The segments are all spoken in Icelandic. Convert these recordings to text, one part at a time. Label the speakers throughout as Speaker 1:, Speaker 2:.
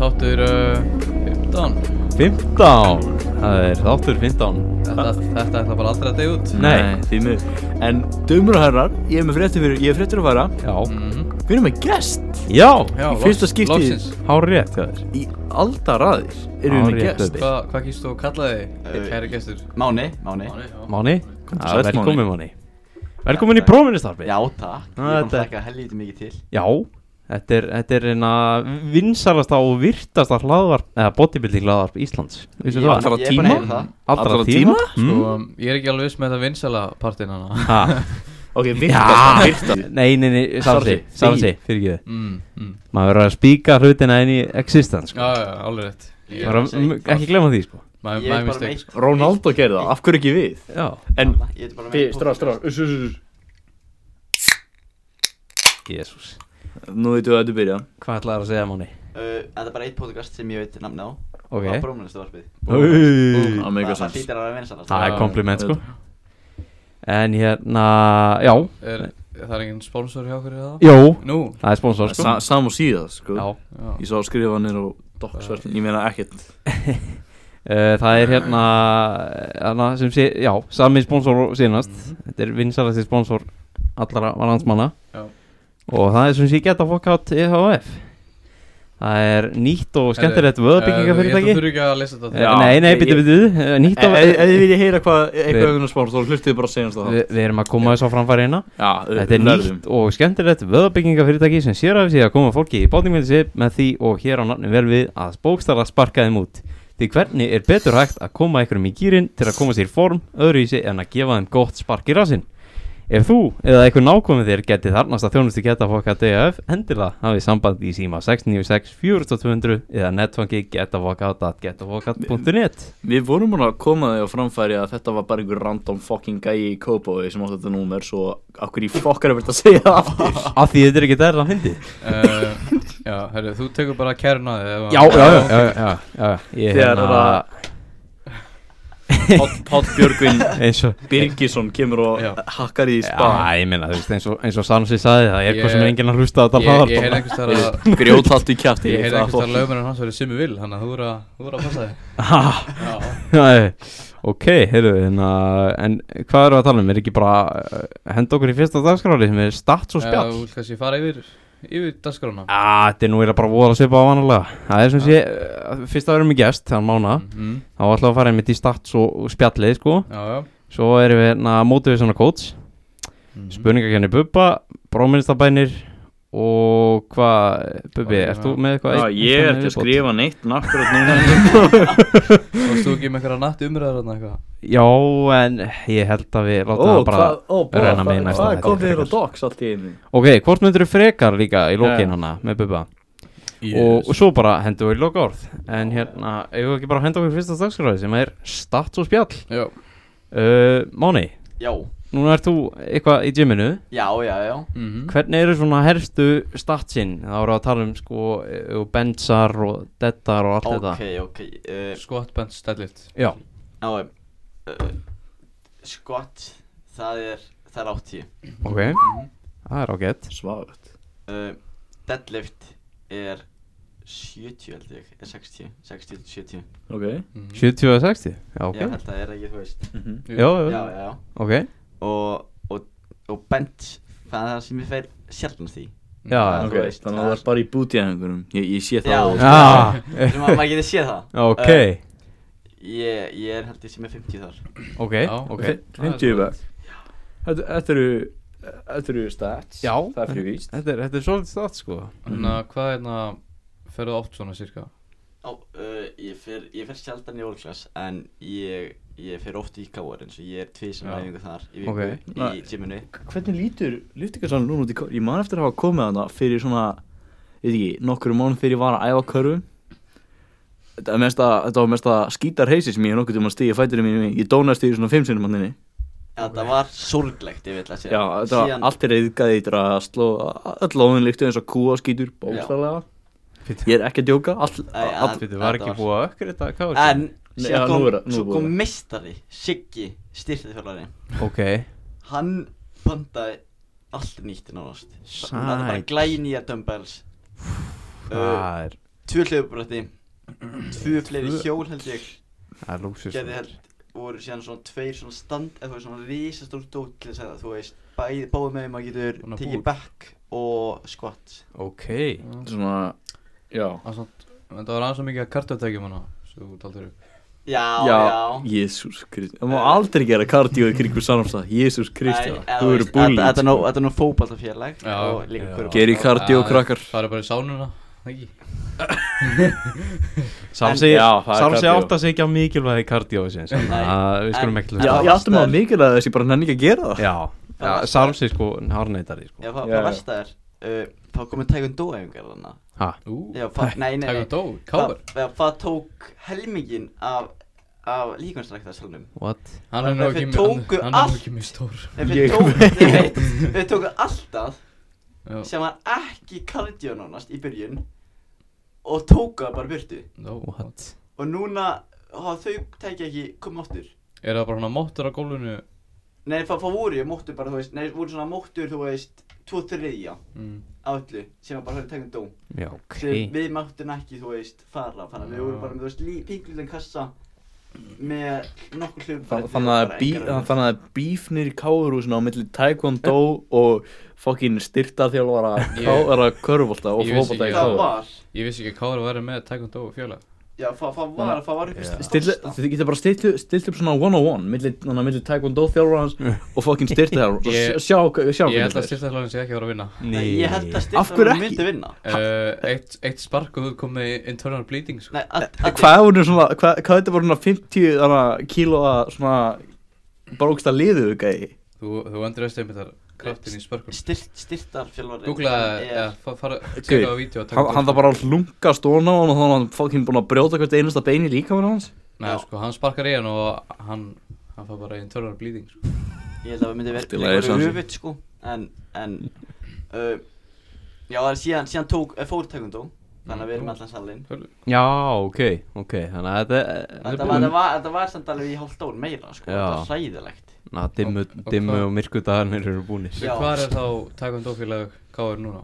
Speaker 1: Þáttur uh, 15
Speaker 2: 15 Það er þáttur 15
Speaker 1: Þetta, þetta ætla bara aldrei að deyja út
Speaker 2: Nei,
Speaker 3: því miður En dömur og herrar, ég er með fréttir fyrir, ég er fréttir að fara
Speaker 2: Já
Speaker 1: Mhm.
Speaker 3: Við erum með gest
Speaker 2: Já,
Speaker 1: Já,
Speaker 3: Í fyrsta
Speaker 1: loks-
Speaker 3: skipti-
Speaker 1: loksins.
Speaker 2: hár rétt hjá þér
Speaker 3: í aldaraðir Erum við með
Speaker 2: Hárrétt,
Speaker 3: gest
Speaker 2: Bubbi.
Speaker 1: Hva, Hvað kýrst þú að kalla þig,
Speaker 4: Eh,
Speaker 1: kæri gestur?
Speaker 4: Máni, Máni
Speaker 1: Máni
Speaker 2: Máni
Speaker 3: Komdu
Speaker 2: Já,
Speaker 3: sæll,
Speaker 2: Velkomin Máni Velkomin í prófinistarfi
Speaker 4: Já, takk, ég
Speaker 2: Já,
Speaker 4: kom
Speaker 2: þetta-
Speaker 4: að taka helvítið mikið til
Speaker 2: Já Þetta er, þetta er eina vinsalasta og virtasta hlaðvarp, eða bodybuilding hlaðvarp Íslands Vissu
Speaker 4: Ég-
Speaker 2: það?
Speaker 4: ég er búin að heyra það.
Speaker 3: Allra tíma?
Speaker 1: Sko,
Speaker 2: Mm.
Speaker 1: um, ég er ekki alveg viss með þetta vinsala partinn hana
Speaker 2: Ha,
Speaker 3: Ok,
Speaker 2: Já.
Speaker 3: virta, virta
Speaker 2: Nei, nei, nei,
Speaker 3: Sorry.
Speaker 2: sási, sási, fyrir ekki þið
Speaker 1: mm, mm.
Speaker 2: Maður verður að spíka hlutina inn í existence
Speaker 1: Já,
Speaker 2: sko.
Speaker 1: já, alveg rétt
Speaker 4: Ég
Speaker 2: Maður
Speaker 4: segi-
Speaker 2: verður að- ekki glemma því sko.
Speaker 1: My,
Speaker 4: Ég
Speaker 1: my
Speaker 4: er bara með
Speaker 1: mistake
Speaker 4: eitt
Speaker 3: Ronaldo gerði það, af hverju ekki við?
Speaker 2: Já,
Speaker 3: En,
Speaker 4: Ég er bara með
Speaker 3: við,
Speaker 4: eitt
Speaker 3: strá, strá,
Speaker 4: podcast.
Speaker 3: uss, uss, uss
Speaker 2: jésús
Speaker 3: Nú veitum við að þetta byrja
Speaker 2: Hvað ætlaði að segja Máni?
Speaker 4: Uh, Það er bara eitt podcast sem ég veit namna á
Speaker 2: Ok
Speaker 4: Það er brómlæstu varpið
Speaker 2: Új.
Speaker 3: Það meikar
Speaker 4: Það
Speaker 3: sens.
Speaker 4: hlýtar að vera vinsalast
Speaker 2: Það
Speaker 1: Já,
Speaker 2: er kompliment sko
Speaker 3: auðvitað.
Speaker 2: En hérna, já
Speaker 1: er, Það er engin sponsor hjá okkur í það?
Speaker 2: Jó,
Speaker 1: Nú
Speaker 2: það er sponsor sko
Speaker 3: Sa, Sam og síða, sko
Speaker 2: Já,
Speaker 1: Já.
Speaker 3: Ég sá skrifanir og doksverðin, ég meina ekkert
Speaker 2: uh, það er hérna, hérna sem sé, já, sami sponsor sínast Þetta er vinsalasti sponsor allra landsmanna
Speaker 1: Já.
Speaker 2: Og það er sem sé geta fokkátt EHF E Það er nýtt og skemmtilegt
Speaker 1: uh, Ég
Speaker 2: vöðbyggingafyrirtæki
Speaker 1: þurfi ekki að lesa þetta
Speaker 2: Eh, Nei, nei, byttu, byttu, eh, nýtt
Speaker 3: Ef
Speaker 2: og
Speaker 3: ef þið viljið heyra hvað
Speaker 2: Við-
Speaker 3: eitthvað auðvitað spáns, þá hlustið bara að segja hans það
Speaker 2: Við við erum að koma þess á framfæri hérna
Speaker 3: Já,
Speaker 2: Þetta er
Speaker 3: lærðum.
Speaker 2: nýtt og skemmtilegt vöðabyggingafyrirtæki sem sér af sig að koma fólki í bátningmyndisir með því og hér á nafnum vel við að spókstara sparka þeim út. Því hvernig er betur hægt að koma einhverjum í gýrin til að koma sér í form öðruvísi en að gefa þeim gott spark í rasinn? Ef þú eða einhver nákomið þér geti þarnast að þjónustu geta fokka DF, endilega hafið samband í síma 696 4200 eða netfangi getafokka.getafokka.net
Speaker 3: Við vorum búin að koma því á framfæri að þetta var bara einhver random fucking gæi í Kópói sem átti þetta númer svo okkur í fokkar er verið að segja það aftur
Speaker 2: Af því þetta er ekki þærra hindi
Speaker 3: Eh,
Speaker 1: uh, Já, herru, þú tekur bara kærna þig
Speaker 2: Já, já, já, já, já, já, já. Ég,
Speaker 3: Þegar
Speaker 2: hérna,
Speaker 3: Páll- Páll Björgvin
Speaker 2: eins og
Speaker 3: Birgisson kemur og
Speaker 1: Já.
Speaker 3: hakkar í spa
Speaker 2: Já, ég meina, þú veist, eins og, eins og Sansi sagði það er eitthvað sem
Speaker 1: Ég-
Speaker 2: enginn að hlusta á þetta
Speaker 1: Ég, ég heyrði
Speaker 2: hlaðarp.
Speaker 1: einhvers þar að
Speaker 3: Grjótalt í kjæfti
Speaker 1: Ég heyrði einhvers þar að lögmennin hans verið Simmi Vil Þannig að þú eru að, þú eru að passa
Speaker 2: Ha,
Speaker 1: þig Já
Speaker 2: nei, Ok, heyrðu, hérna, en hvað eru að tala um? Er ekki bara uh, henda okkur í fyrsta dagskráli sem er stats og
Speaker 1: Já,
Speaker 2: spjall?
Speaker 1: Þú
Speaker 2: Já,
Speaker 1: vilt kannski fara yfir, yfir dagskrána
Speaker 2: þetta er nú eiginlega bara voða að svipa á vanalega. Það er sem sé, uh, fyrst að vera með gest, þann mána,
Speaker 1: mm,
Speaker 2: þá ætlum við að fara einmitt í stats og, og spjallið, sko.
Speaker 1: Já, já
Speaker 2: Svo erum við, hérna, motivational coach,
Speaker 3: Mhm.
Speaker 1: mm.
Speaker 2: spurningakenni Bubba, bróminnistabænir og hvað, Bubbi,
Speaker 1: Og-
Speaker 2: ert þú með eitthvað?
Speaker 3: Já,
Speaker 2: eitt-
Speaker 3: ég er
Speaker 2: eitt
Speaker 3: til að
Speaker 2: viðbót?
Speaker 3: skrifa neitt nakkurat núna
Speaker 1: Varst þú ekki með einhverja natt umræður þarna eitthvað?
Speaker 2: Já, en ég held að við láta
Speaker 3: Ó,
Speaker 2: það bara
Speaker 3: hvað, ó, bó,
Speaker 2: renna með í
Speaker 3: hvað,
Speaker 2: næsta
Speaker 3: hvað
Speaker 2: þætti.
Speaker 3: kom þér á doks allt í einu?
Speaker 2: Ok, hvort myndur þú frekar líka í
Speaker 3: Já.
Speaker 2: lókin hana með Bubba og, og svo bara hendur við í loka orð En hérna, ef við ekki bara henda okkur í fyrsta stagsgráði sem er stats og spjall
Speaker 1: Já
Speaker 2: uh, Máni,
Speaker 4: Já,
Speaker 2: núna ert þú eitthvað í gyminu
Speaker 4: já, já, já
Speaker 1: Mhm.
Speaker 2: Hvernig eru svona herstu statsinn? Það voru að tala um sko eh, og bensar og dettar og allt
Speaker 4: Ok, ok uh,
Speaker 1: Squat bench deadlift
Speaker 2: þetta Já,
Speaker 4: Ná, uh, skott Það er, það er 80
Speaker 2: ok
Speaker 1: Mhm.
Speaker 2: Það er ágætt
Speaker 3: Svagt
Speaker 4: uh, Deadlift er 70 held ég, er 60, 60 til 70
Speaker 3: Ok
Speaker 1: Mhm.
Speaker 2: 70 og 60, já ok
Speaker 4: Ég held að það er ekki, þú veist
Speaker 2: Já,
Speaker 4: Já,
Speaker 2: já,
Speaker 4: já, já
Speaker 2: ok
Speaker 4: og, og, og bench það er það sem ég fer sjálfnast í
Speaker 2: Já,
Speaker 4: Það er
Speaker 3: Ok,
Speaker 4: þú veist,
Speaker 3: þannig að það er bara í búti að einhverjum Ég, ég sé
Speaker 4: Já.
Speaker 3: það á-
Speaker 2: Já,
Speaker 3: Eh.
Speaker 4: sem að maður getur séð það
Speaker 2: ok,
Speaker 4: Eh, ég, ég er held ég sem er 50 þar
Speaker 2: ok,
Speaker 1: já,
Speaker 2: ok
Speaker 3: Fi- 50 back Þetta þetta eru Þetta eru stats
Speaker 2: Já,
Speaker 3: Það er fyrir víst
Speaker 2: Þetta er, þetta er svolítið státt sko
Speaker 4: Mm-hmm.
Speaker 1: Þannig að Hérna, hvað er það Ferðu oft svona cirka?
Speaker 4: Ó, uh, ég fer, ég fer sjaldan í ólklass en ég, ég fer oft í káar eins og ég er tvið sem
Speaker 1: Já.
Speaker 4: æfingu þar í viku
Speaker 2: Ok.
Speaker 4: í gyminu
Speaker 3: Hvernig lítur lyftingarsalinn núna út í körfu? Ég man eftir að hafa komið hana fyrir svona, ég veit ekki, nokkru mánu fyrir ég var að æfa körfu Þetta, er mesta, þetta var mesta skítarheysi sem ég hef nokkuð tíma stíði fæturinn mínum í. Ég dónast í svona fimm sinnum hann inni.
Speaker 4: Þetta var sorglegt, ég vil að segja
Speaker 3: Já, þetta var
Speaker 4: Síðan-
Speaker 3: allt er reyðgæði í drasl og öll óðin líktu eins og kúa skítur bókstarlega. Ég er ekki að djóka. All,
Speaker 4: Nei,
Speaker 3: all,
Speaker 4: en-
Speaker 2: Þetta var ekki
Speaker 4: þetta
Speaker 2: búið að ökkur þetta káður
Speaker 4: En,
Speaker 3: Nei,
Speaker 4: síðan
Speaker 3: já, nú
Speaker 4: kom,
Speaker 3: er það- nú
Speaker 4: svo
Speaker 3: er búið
Speaker 4: kom
Speaker 3: það.
Speaker 4: meistari, Siggi, styrtiðfjörðari
Speaker 2: Ok,
Speaker 4: Hann pantaði allt nýtt nánast
Speaker 2: Sæll.
Speaker 4: Hann hafði bara glænýja dumbbells uh,
Speaker 2: það er
Speaker 4: Tvö hlöfubrætti Tvö fleiri
Speaker 2: Tvö-
Speaker 4: hjól held ég
Speaker 2: Það er lúksus
Speaker 4: Gerði held voru síðan svona tveir svona stand eða þú veist, svona risastór dót til þess að þú veist bæði báði með maður getur
Speaker 1: Svona
Speaker 4: tekið
Speaker 1: búr.
Speaker 4: back og squat
Speaker 2: Ok
Speaker 3: svona, já.
Speaker 1: Ásamt, þetta var aðeins svo mikið að kartöftekjum hana sem þú taldur upp
Speaker 4: já,
Speaker 3: já,
Speaker 4: já.
Speaker 3: Jésús Kristi. Það má aldrei gera kardíu í kringu sannumstað. Jésús Kristi,
Speaker 4: Nei, eða
Speaker 3: þú eru
Speaker 4: veist, þetta- Þetta er nú-
Speaker 3: búlít.
Speaker 4: þetta er nú fókbaltafélag
Speaker 1: Já,
Speaker 4: og líka
Speaker 2: já.
Speaker 4: körfubolta.
Speaker 3: Geri kardíu,
Speaker 1: Já,
Speaker 3: krakkar.
Speaker 1: Það er bara í sánuna, ekki?
Speaker 2: Sám
Speaker 4: En-
Speaker 2: segir
Speaker 3: Já, það er
Speaker 2: Sám segir
Speaker 3: kardió.
Speaker 2: átt að segja ekki á mikilvægi kardióisins
Speaker 4: Nei.
Speaker 2: Við skulum
Speaker 4: En-
Speaker 2: ekki hlusta
Speaker 3: Já,
Speaker 2: á
Speaker 4: var
Speaker 3: ég áttum að
Speaker 4: stærð.
Speaker 3: mikilvæg þess ég bara nenni ekki að gera það.
Speaker 2: Já,
Speaker 4: Það var
Speaker 2: já Sám segir sko Hárneitari sko
Speaker 4: Já, það
Speaker 3: Já,
Speaker 4: yeah.
Speaker 3: já.
Speaker 4: verst að er uh, þá komið Taekwondo efingar þarna
Speaker 2: Ha,
Speaker 1: Ú,
Speaker 4: Já, það, nei, nei, nei
Speaker 1: Taekwondo,
Speaker 4: það,
Speaker 1: káver
Speaker 4: það, það tók helmingin af, af líkvæmstræktarsalunum
Speaker 2: what?
Speaker 1: Hann er nú
Speaker 4: Þeir
Speaker 1: ekki,
Speaker 4: tóku
Speaker 1: hann, hann er
Speaker 4: allt.
Speaker 1: nú ekki mjög stór
Speaker 4: Við
Speaker 3: Ég
Speaker 4: tókum,
Speaker 3: veit.
Speaker 4: ég veit, við tókum alltaf
Speaker 1: Já,
Speaker 4: sem var ekki cardio nánast í byrjun og tóku það bara í burtu
Speaker 1: no,
Speaker 2: What?
Speaker 4: og núna hafa þau tækja ekki komið áttur
Speaker 1: Er það bara hann að móttur á gólfinu?
Speaker 4: Nei, það það voru ég móttur bara, þú veist, nei, voru svona móttur, þú veist, tvo þriðja
Speaker 1: Mm.
Speaker 4: af öllu sem var bara höfðu Taekwondo
Speaker 2: Já, ok
Speaker 4: um sem við máttum ekki, þú veist, fara þannig að við vorum bara með, þú veist, lí- pinglítan kassa með nokkur hljóð
Speaker 3: Þann- Þannig að bí- þannig að það er bíf niður í káðurhúsinu á milli taekwondo og fokkin styrta þjálfara
Speaker 1: Ég-
Speaker 3: káðara körfólta og
Speaker 1: Ég vissi
Speaker 3: fókbólta í
Speaker 1: ekki
Speaker 4: það
Speaker 3: káður
Speaker 4: var
Speaker 1: Ég vissi ekki að káver væri með Taekwondo félag
Speaker 4: já, það það var, það var upp í stofsta
Speaker 3: Þið getur bara stilt stilt upp svona 101 milli, þannig að milli taekwondo þjálfarans og fokkin styrta þjálfarans og
Speaker 1: Ég-
Speaker 3: s- sjá, sjá
Speaker 1: Ég
Speaker 3: hvernig
Speaker 1: held að
Speaker 3: þetta er
Speaker 1: styrtaðhlaðin sé ekki að vera að vinna
Speaker 4: Nei, ég held að
Speaker 3: Af hverju
Speaker 4: styrta
Speaker 3: ekki?
Speaker 4: myndi vinna
Speaker 1: uh, eitt, eitt spark og þú kom með internal bleeding sko.
Speaker 4: Nei, að, að
Speaker 3: Hvað er hún svona, hvað, hvað þetta voru svona 50 þarna kílóa svona bróksta liðu gæði
Speaker 1: Þú, þú endur eftir einmitt þar kraftin í sparkum
Speaker 4: styrt, styrtarfjálfari
Speaker 1: Google að, ja, fara,
Speaker 3: Guð,
Speaker 1: tjekka á vídeo
Speaker 3: Hann, hann það bara að lunga stóna og þannig að hann fokkin búin að brjóta hvert einasta bein í líkamann hans
Speaker 1: Nei, sko, hann sparkar í hann og hann, hann fær bara internal bleeding sko.
Speaker 4: Ég held að það myndi
Speaker 3: Allt í
Speaker 4: verið
Speaker 3: lagi,
Speaker 4: einhverju
Speaker 3: Sansi.
Speaker 4: röfitt sko En, en uh, Já, það er síðan, síðan tók eh, fór Taekwondo Þannig að
Speaker 1: Mm.
Speaker 4: við erum allan salin
Speaker 2: Já, ok, ok Þannig að þetta eh,
Speaker 4: Þetta var, þetta var, þetta var samt alveg í hálft ár meira sko
Speaker 2: Já.
Speaker 4: Þetta var hræðilegt
Speaker 2: Na, dimmu,
Speaker 1: Og- og
Speaker 2: dimmu
Speaker 1: hvað-
Speaker 2: og myrku dagarnir eru búinir
Speaker 4: Já.
Speaker 1: Hvað er þá Taekwondo félag káver núna?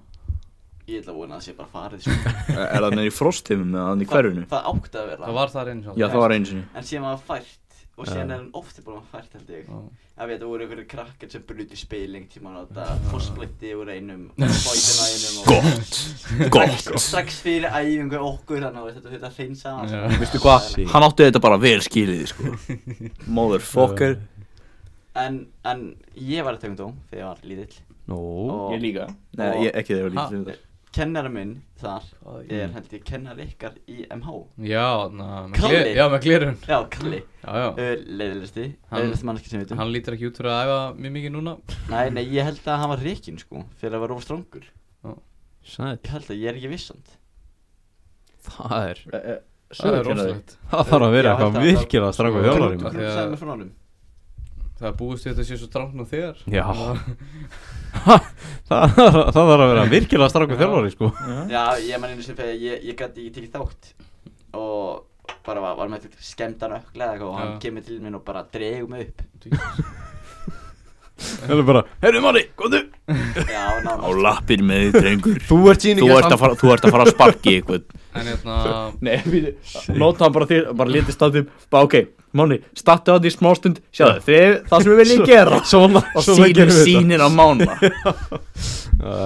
Speaker 4: Ég ætla að vona að það sé bara farið sko
Speaker 3: Er það neður í frostheimum eða hann í hverfinu?
Speaker 4: Það, það átti að vera
Speaker 1: Það var þar einu sjálf
Speaker 3: Já, það var einu sinni
Speaker 4: En síðan var það fært Og síðan
Speaker 2: Já.
Speaker 4: er hann ofti búin að fært held ég Ef þetta voru einhverju krakkar sem bruti speiling Tíma að þetta fórsplitti úr einum Fóitina einum
Speaker 3: Sko,
Speaker 4: og
Speaker 3: Gott
Speaker 4: Strax fyrir æfingu okkur Þannig að þetta þetta hreinsa sko.
Speaker 1: Já.
Speaker 2: Veistu hvað?
Speaker 3: Hann átti þetta bara vel skilið sko. Motherfucker
Speaker 4: en, en ég var í Taekwondo Þegar ég var lítill
Speaker 2: Nú,
Speaker 4: Og-
Speaker 3: líka um Nei, ég, ekki þegar
Speaker 1: Ha?
Speaker 3: ég líka
Speaker 4: kennara minn þar
Speaker 1: Hvað
Speaker 4: er held ég kennar ykkar í MH
Speaker 1: Já, na, með
Speaker 4: Kalli.
Speaker 1: gler- já, með glirun
Speaker 4: Já, Kalli,
Speaker 1: Já, já
Speaker 4: uh, leiðilegsti
Speaker 1: Hann-
Speaker 4: leiðilegsti mannski sem við veitum
Speaker 1: Hann lítur ekki út fyrir að æfa mjög mikið núna
Speaker 4: Nei, nei, ég held að hann var reikin sko fyrir að vera of strangur
Speaker 2: sæl
Speaker 4: Ég held að ég er ekki vissand
Speaker 2: Það er
Speaker 3: þegar
Speaker 1: Það er rosalegt
Speaker 2: Það þarf að vera
Speaker 4: Já,
Speaker 2: eitthvað
Speaker 4: þetta-
Speaker 2: virkilega strangur þjálfari
Speaker 1: Af
Speaker 4: Þú
Speaker 1: því að-
Speaker 4: sagði með frá honum
Speaker 1: Það er búist við þetta sé svo drangt nú þegar
Speaker 2: Já.
Speaker 1: Það-
Speaker 2: Það þarf það þarf að vera virkilega strangur
Speaker 1: Já.
Speaker 2: þjálfari sko
Speaker 4: Já, ég man einu sem fyrir ég, ég gæti ekki tekið þátt og bara var, var með þetta skemmtan ökla eða eitthvað og hann
Speaker 1: Já.
Speaker 4: kemur til minn og bara dregur mig upp
Speaker 2: Það er bara Herru Máni, komdu
Speaker 4: Já,
Speaker 3: Á
Speaker 4: nánast
Speaker 3: lappir með þið, drengur
Speaker 2: Þú ert sín
Speaker 3: Þú ert að fara, þú ert að fara að sparki eitthvað
Speaker 1: En hérna
Speaker 3: Nei, nota hann bara þér, bara letið statum Bara ok, Máni, statu á því smástund Sjáðu, þið, það sem við viljum gera
Speaker 2: Svona
Speaker 3: Og sínir, sínir á mána
Speaker 2: Æ,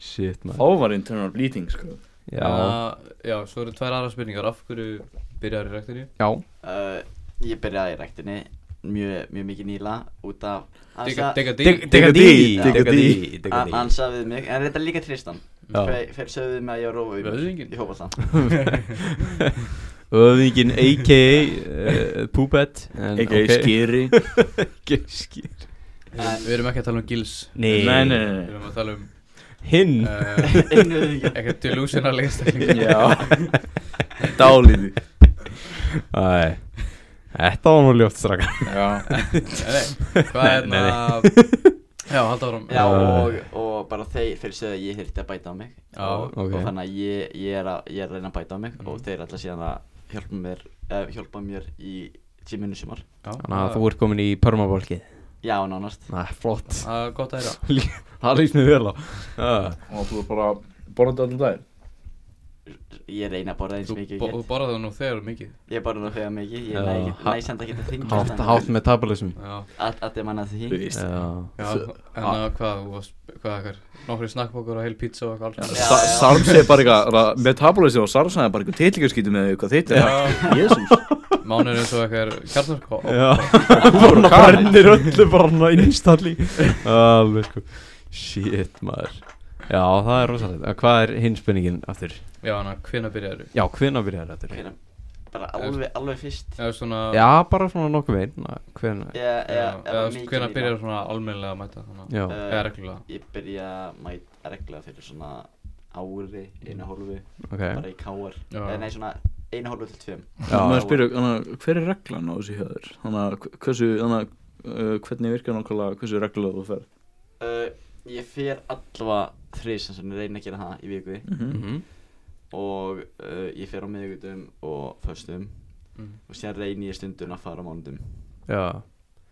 Speaker 2: shit man
Speaker 3: Þá var internal bleeding, sko
Speaker 2: Já
Speaker 1: hérna, Já, svo eru tvær aðra spurningar Af hverju byrjar í rektinni?
Speaker 2: Já
Speaker 4: uh, Ég byrjaði í rektinni mjög, mjög mikið nýla út af hann sagði-
Speaker 1: Digga dí
Speaker 2: Dig- Digga dí Digga dí Digga
Speaker 4: Hann hann sagði við mig, en þetta er líka Tristan
Speaker 2: Já.
Speaker 4: Þeir sögðu við mig að ég var rófa
Speaker 1: Vöðvinginn?
Speaker 4: Ég hópa það
Speaker 2: Öðvingin a.k.a. uh, Púbett
Speaker 3: Ekki skýri
Speaker 2: Ekki skýr
Speaker 1: Við erum ekki að tala um gils
Speaker 2: Nei.
Speaker 3: Nei, nei,
Speaker 1: Við
Speaker 3: nei
Speaker 1: erum að tala um
Speaker 2: Hinn
Speaker 1: uh,
Speaker 4: Innöðingja
Speaker 1: Ekkert delusional einstakling
Speaker 3: Já Dálítið
Speaker 2: Æ, Þetta var nú ljótt straka
Speaker 3: Já,
Speaker 1: Nei, hvað er
Speaker 2: Nei,
Speaker 1: það? Já, halda áram
Speaker 4: Já,
Speaker 2: Já.
Speaker 4: og, og bara þeir fyrir sögðu að ég þurfti að bæta á mig
Speaker 1: Já,
Speaker 4: og,
Speaker 2: ok. Mhm.
Speaker 4: og þannig að ég, ég, er að, ég er að reyna að bæta á mig og þeir alltaf síðan að hjálpa mér, eh, hjálpa mér í tíminu sumar
Speaker 2: Þannig að þú ert komin í permabólki
Speaker 4: Já, nánast
Speaker 2: Næ, flott
Speaker 1: Það er gott að heyra
Speaker 2: Það líst mér vel á Já.
Speaker 3: og þú er bara borðið allan daginn
Speaker 4: Ég reyna að borða eins
Speaker 1: Þú
Speaker 4: mikið
Speaker 1: bo-
Speaker 4: og
Speaker 1: þú
Speaker 4: ég get
Speaker 1: borðar það nú þegar mikið
Speaker 4: Ég borða nú þegar mikið,
Speaker 2: Já,
Speaker 4: ég næ ekki-
Speaker 2: ha-
Speaker 4: næ samt ekki að þingja
Speaker 2: Hátt, hátt metabolism
Speaker 1: Já,
Speaker 4: Allt er manna því
Speaker 3: veist
Speaker 2: Já.
Speaker 1: já En
Speaker 2: Ah.
Speaker 1: að hvað, þú varst, hvað eitthvað Nokkri snakkbókur og heil pizza og eitthvað alls
Speaker 4: Já, já.
Speaker 3: Sarf segir bara eitthvað, metabolism og Sarf segir bara eitthvað titlingarskýtu með eitthvað þitt er það. Jésús
Speaker 1: Mánuður eins og eitthvað er kjarnarko
Speaker 2: Já Bara brennir öllu bara hann að innstalli Alveg sko Shit maður Já, það er rosalega En Hvað er hinn spurningin aftur?
Speaker 1: Já, hann að hvenær byrjaður
Speaker 2: Já, hvenær byrjar þetta? aftur?
Speaker 4: Hvenær- Bara alveg, alveg fyrst
Speaker 1: Já, svona
Speaker 2: Já, bara svona nokkuð veginn Hvenær?
Speaker 4: Já, já,
Speaker 1: eða hvenær
Speaker 4: nýlega.
Speaker 1: byrjar svona almennilega að mæta þannig
Speaker 2: Já,
Speaker 4: Eh,
Speaker 1: Eða reglulega
Speaker 4: Ég byrja að mæta regla fyrir svona ári, einu hálfu,
Speaker 2: ok
Speaker 4: bara í káar
Speaker 1: Já.
Speaker 4: Nei, svona einu hálfu til tveim
Speaker 2: Já.
Speaker 3: Má ég spyrja, hana, hver er reglan á þessu hjöður? Þannig að hv- hversu, þannig að uh, hvernig virkar nákvæmlega hversu reglulega þú ferð?
Speaker 4: uh, Ég fer allavega þrísan sem ég reyna að gera það í viku
Speaker 1: Mm.
Speaker 2: Mhm.
Speaker 4: og uh, ég fer á miðvíkutum og föstum
Speaker 1: Mm.
Speaker 4: og síðan reyni ég stundum að fara á mánudum
Speaker 2: Já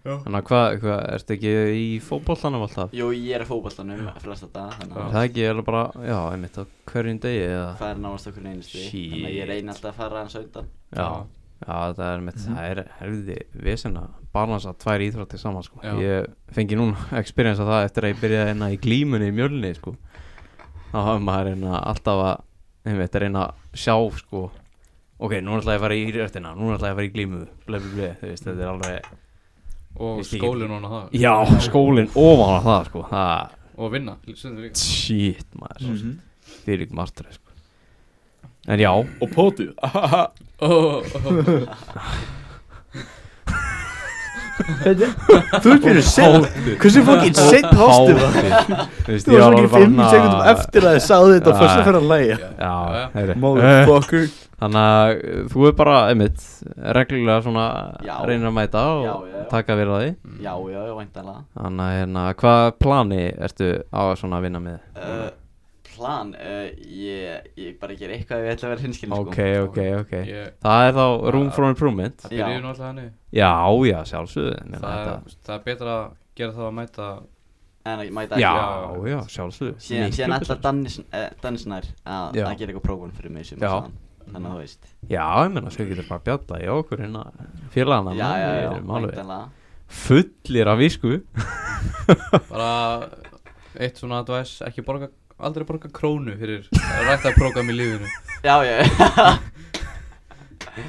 Speaker 1: Já.
Speaker 2: Þannig að hvað, hva, ertu ekki í fótbollanum alltaf?
Speaker 4: Jú, ég er að fótballtanum flesta dag þannig
Speaker 2: Er
Speaker 4: að
Speaker 2: Það ekki, er bara, já, einmitt á hverjum degi eða
Speaker 4: það er náast okkur einusti
Speaker 2: Shit.
Speaker 4: þannig að ég reyni alltaf að fara hans undan
Speaker 2: Já, já það er einmitt, það er herfiði vesen að balansa tvær íþróttir saman sko
Speaker 1: Já.
Speaker 2: Ég fengi núna experience að það eftir að ég byrjaði hérna í glímunni í mjölni sko Þá hafði maður hérna alltaf að, einmitt, reyna að sjá sko Ok, núna ætla ég að fara í röttina, núna ætla ég að fara í glímu, ble, ble, ble, þú veist, þetta er alveg
Speaker 1: Og
Speaker 2: Ég skil.
Speaker 1: skólinn og það
Speaker 2: Já, skólinn ofan að það sko, það,
Speaker 1: Og vinna, stundum líka
Speaker 2: shit maður fyrir ykkur martröð sko. en já,
Speaker 3: Og pótu Þetta
Speaker 1: Ó, ó, ó.
Speaker 3: Þú ert fyrir sinn Hversu fokkin sinn hástu það?
Speaker 2: þú veist,
Speaker 3: Þú
Speaker 2: ég
Speaker 3: var
Speaker 2: var
Speaker 3: ekki
Speaker 2: alveg bara
Speaker 3: 5 sekundum eftir að þið sáðu þetta
Speaker 2: Já,
Speaker 3: fyrst að
Speaker 2: já.
Speaker 3: fyrir að læja
Speaker 2: já,
Speaker 1: Já,
Speaker 2: heyri. Eh,
Speaker 3: Motherfucker
Speaker 2: þannig að uh, þú er bara, einmitt reglulega svona,
Speaker 4: Já.
Speaker 2: reynir að mæta og
Speaker 4: Já, já, já.
Speaker 2: taka við að því
Speaker 1: Mm.
Speaker 4: já, já, já, væntalega
Speaker 2: þannig að hérna, hvað plani ertu á svona að vinna með
Speaker 4: uh, plan, uh, ég, ég bara ger eitthvað ef ég ætla að vera sko. hinskilin
Speaker 2: ok, ok, ok
Speaker 1: Ég-
Speaker 2: það er þá room for improvement
Speaker 1: Það
Speaker 4: Já.
Speaker 1: byrjir nú alltaf hannig
Speaker 2: já, já, sjálfsögðu ég meina
Speaker 1: það,
Speaker 2: þetta-
Speaker 1: er- það er betra að gera það að mæta
Speaker 4: sko. en að mæta
Speaker 2: já,
Speaker 1: já.
Speaker 4: ekki
Speaker 2: já, sjálfsögðu
Speaker 4: síðan,
Speaker 2: Miklu
Speaker 4: síðan
Speaker 2: betra.
Speaker 4: alltaf dansnær að
Speaker 2: Já.
Speaker 4: að gera eitthvað prófun fyrir mig sem
Speaker 2: Já.
Speaker 4: þannig að þú veist
Speaker 2: Já, ég menna, svo getur bara að bjalla í okkur hérna félagana
Speaker 4: já, já, já,
Speaker 2: já,
Speaker 4: væntalega
Speaker 2: fullir af vísku
Speaker 1: bara eitt svona advice ekki borga, aldrei borga krónu fyrir rætta program í lífinu
Speaker 4: já, já,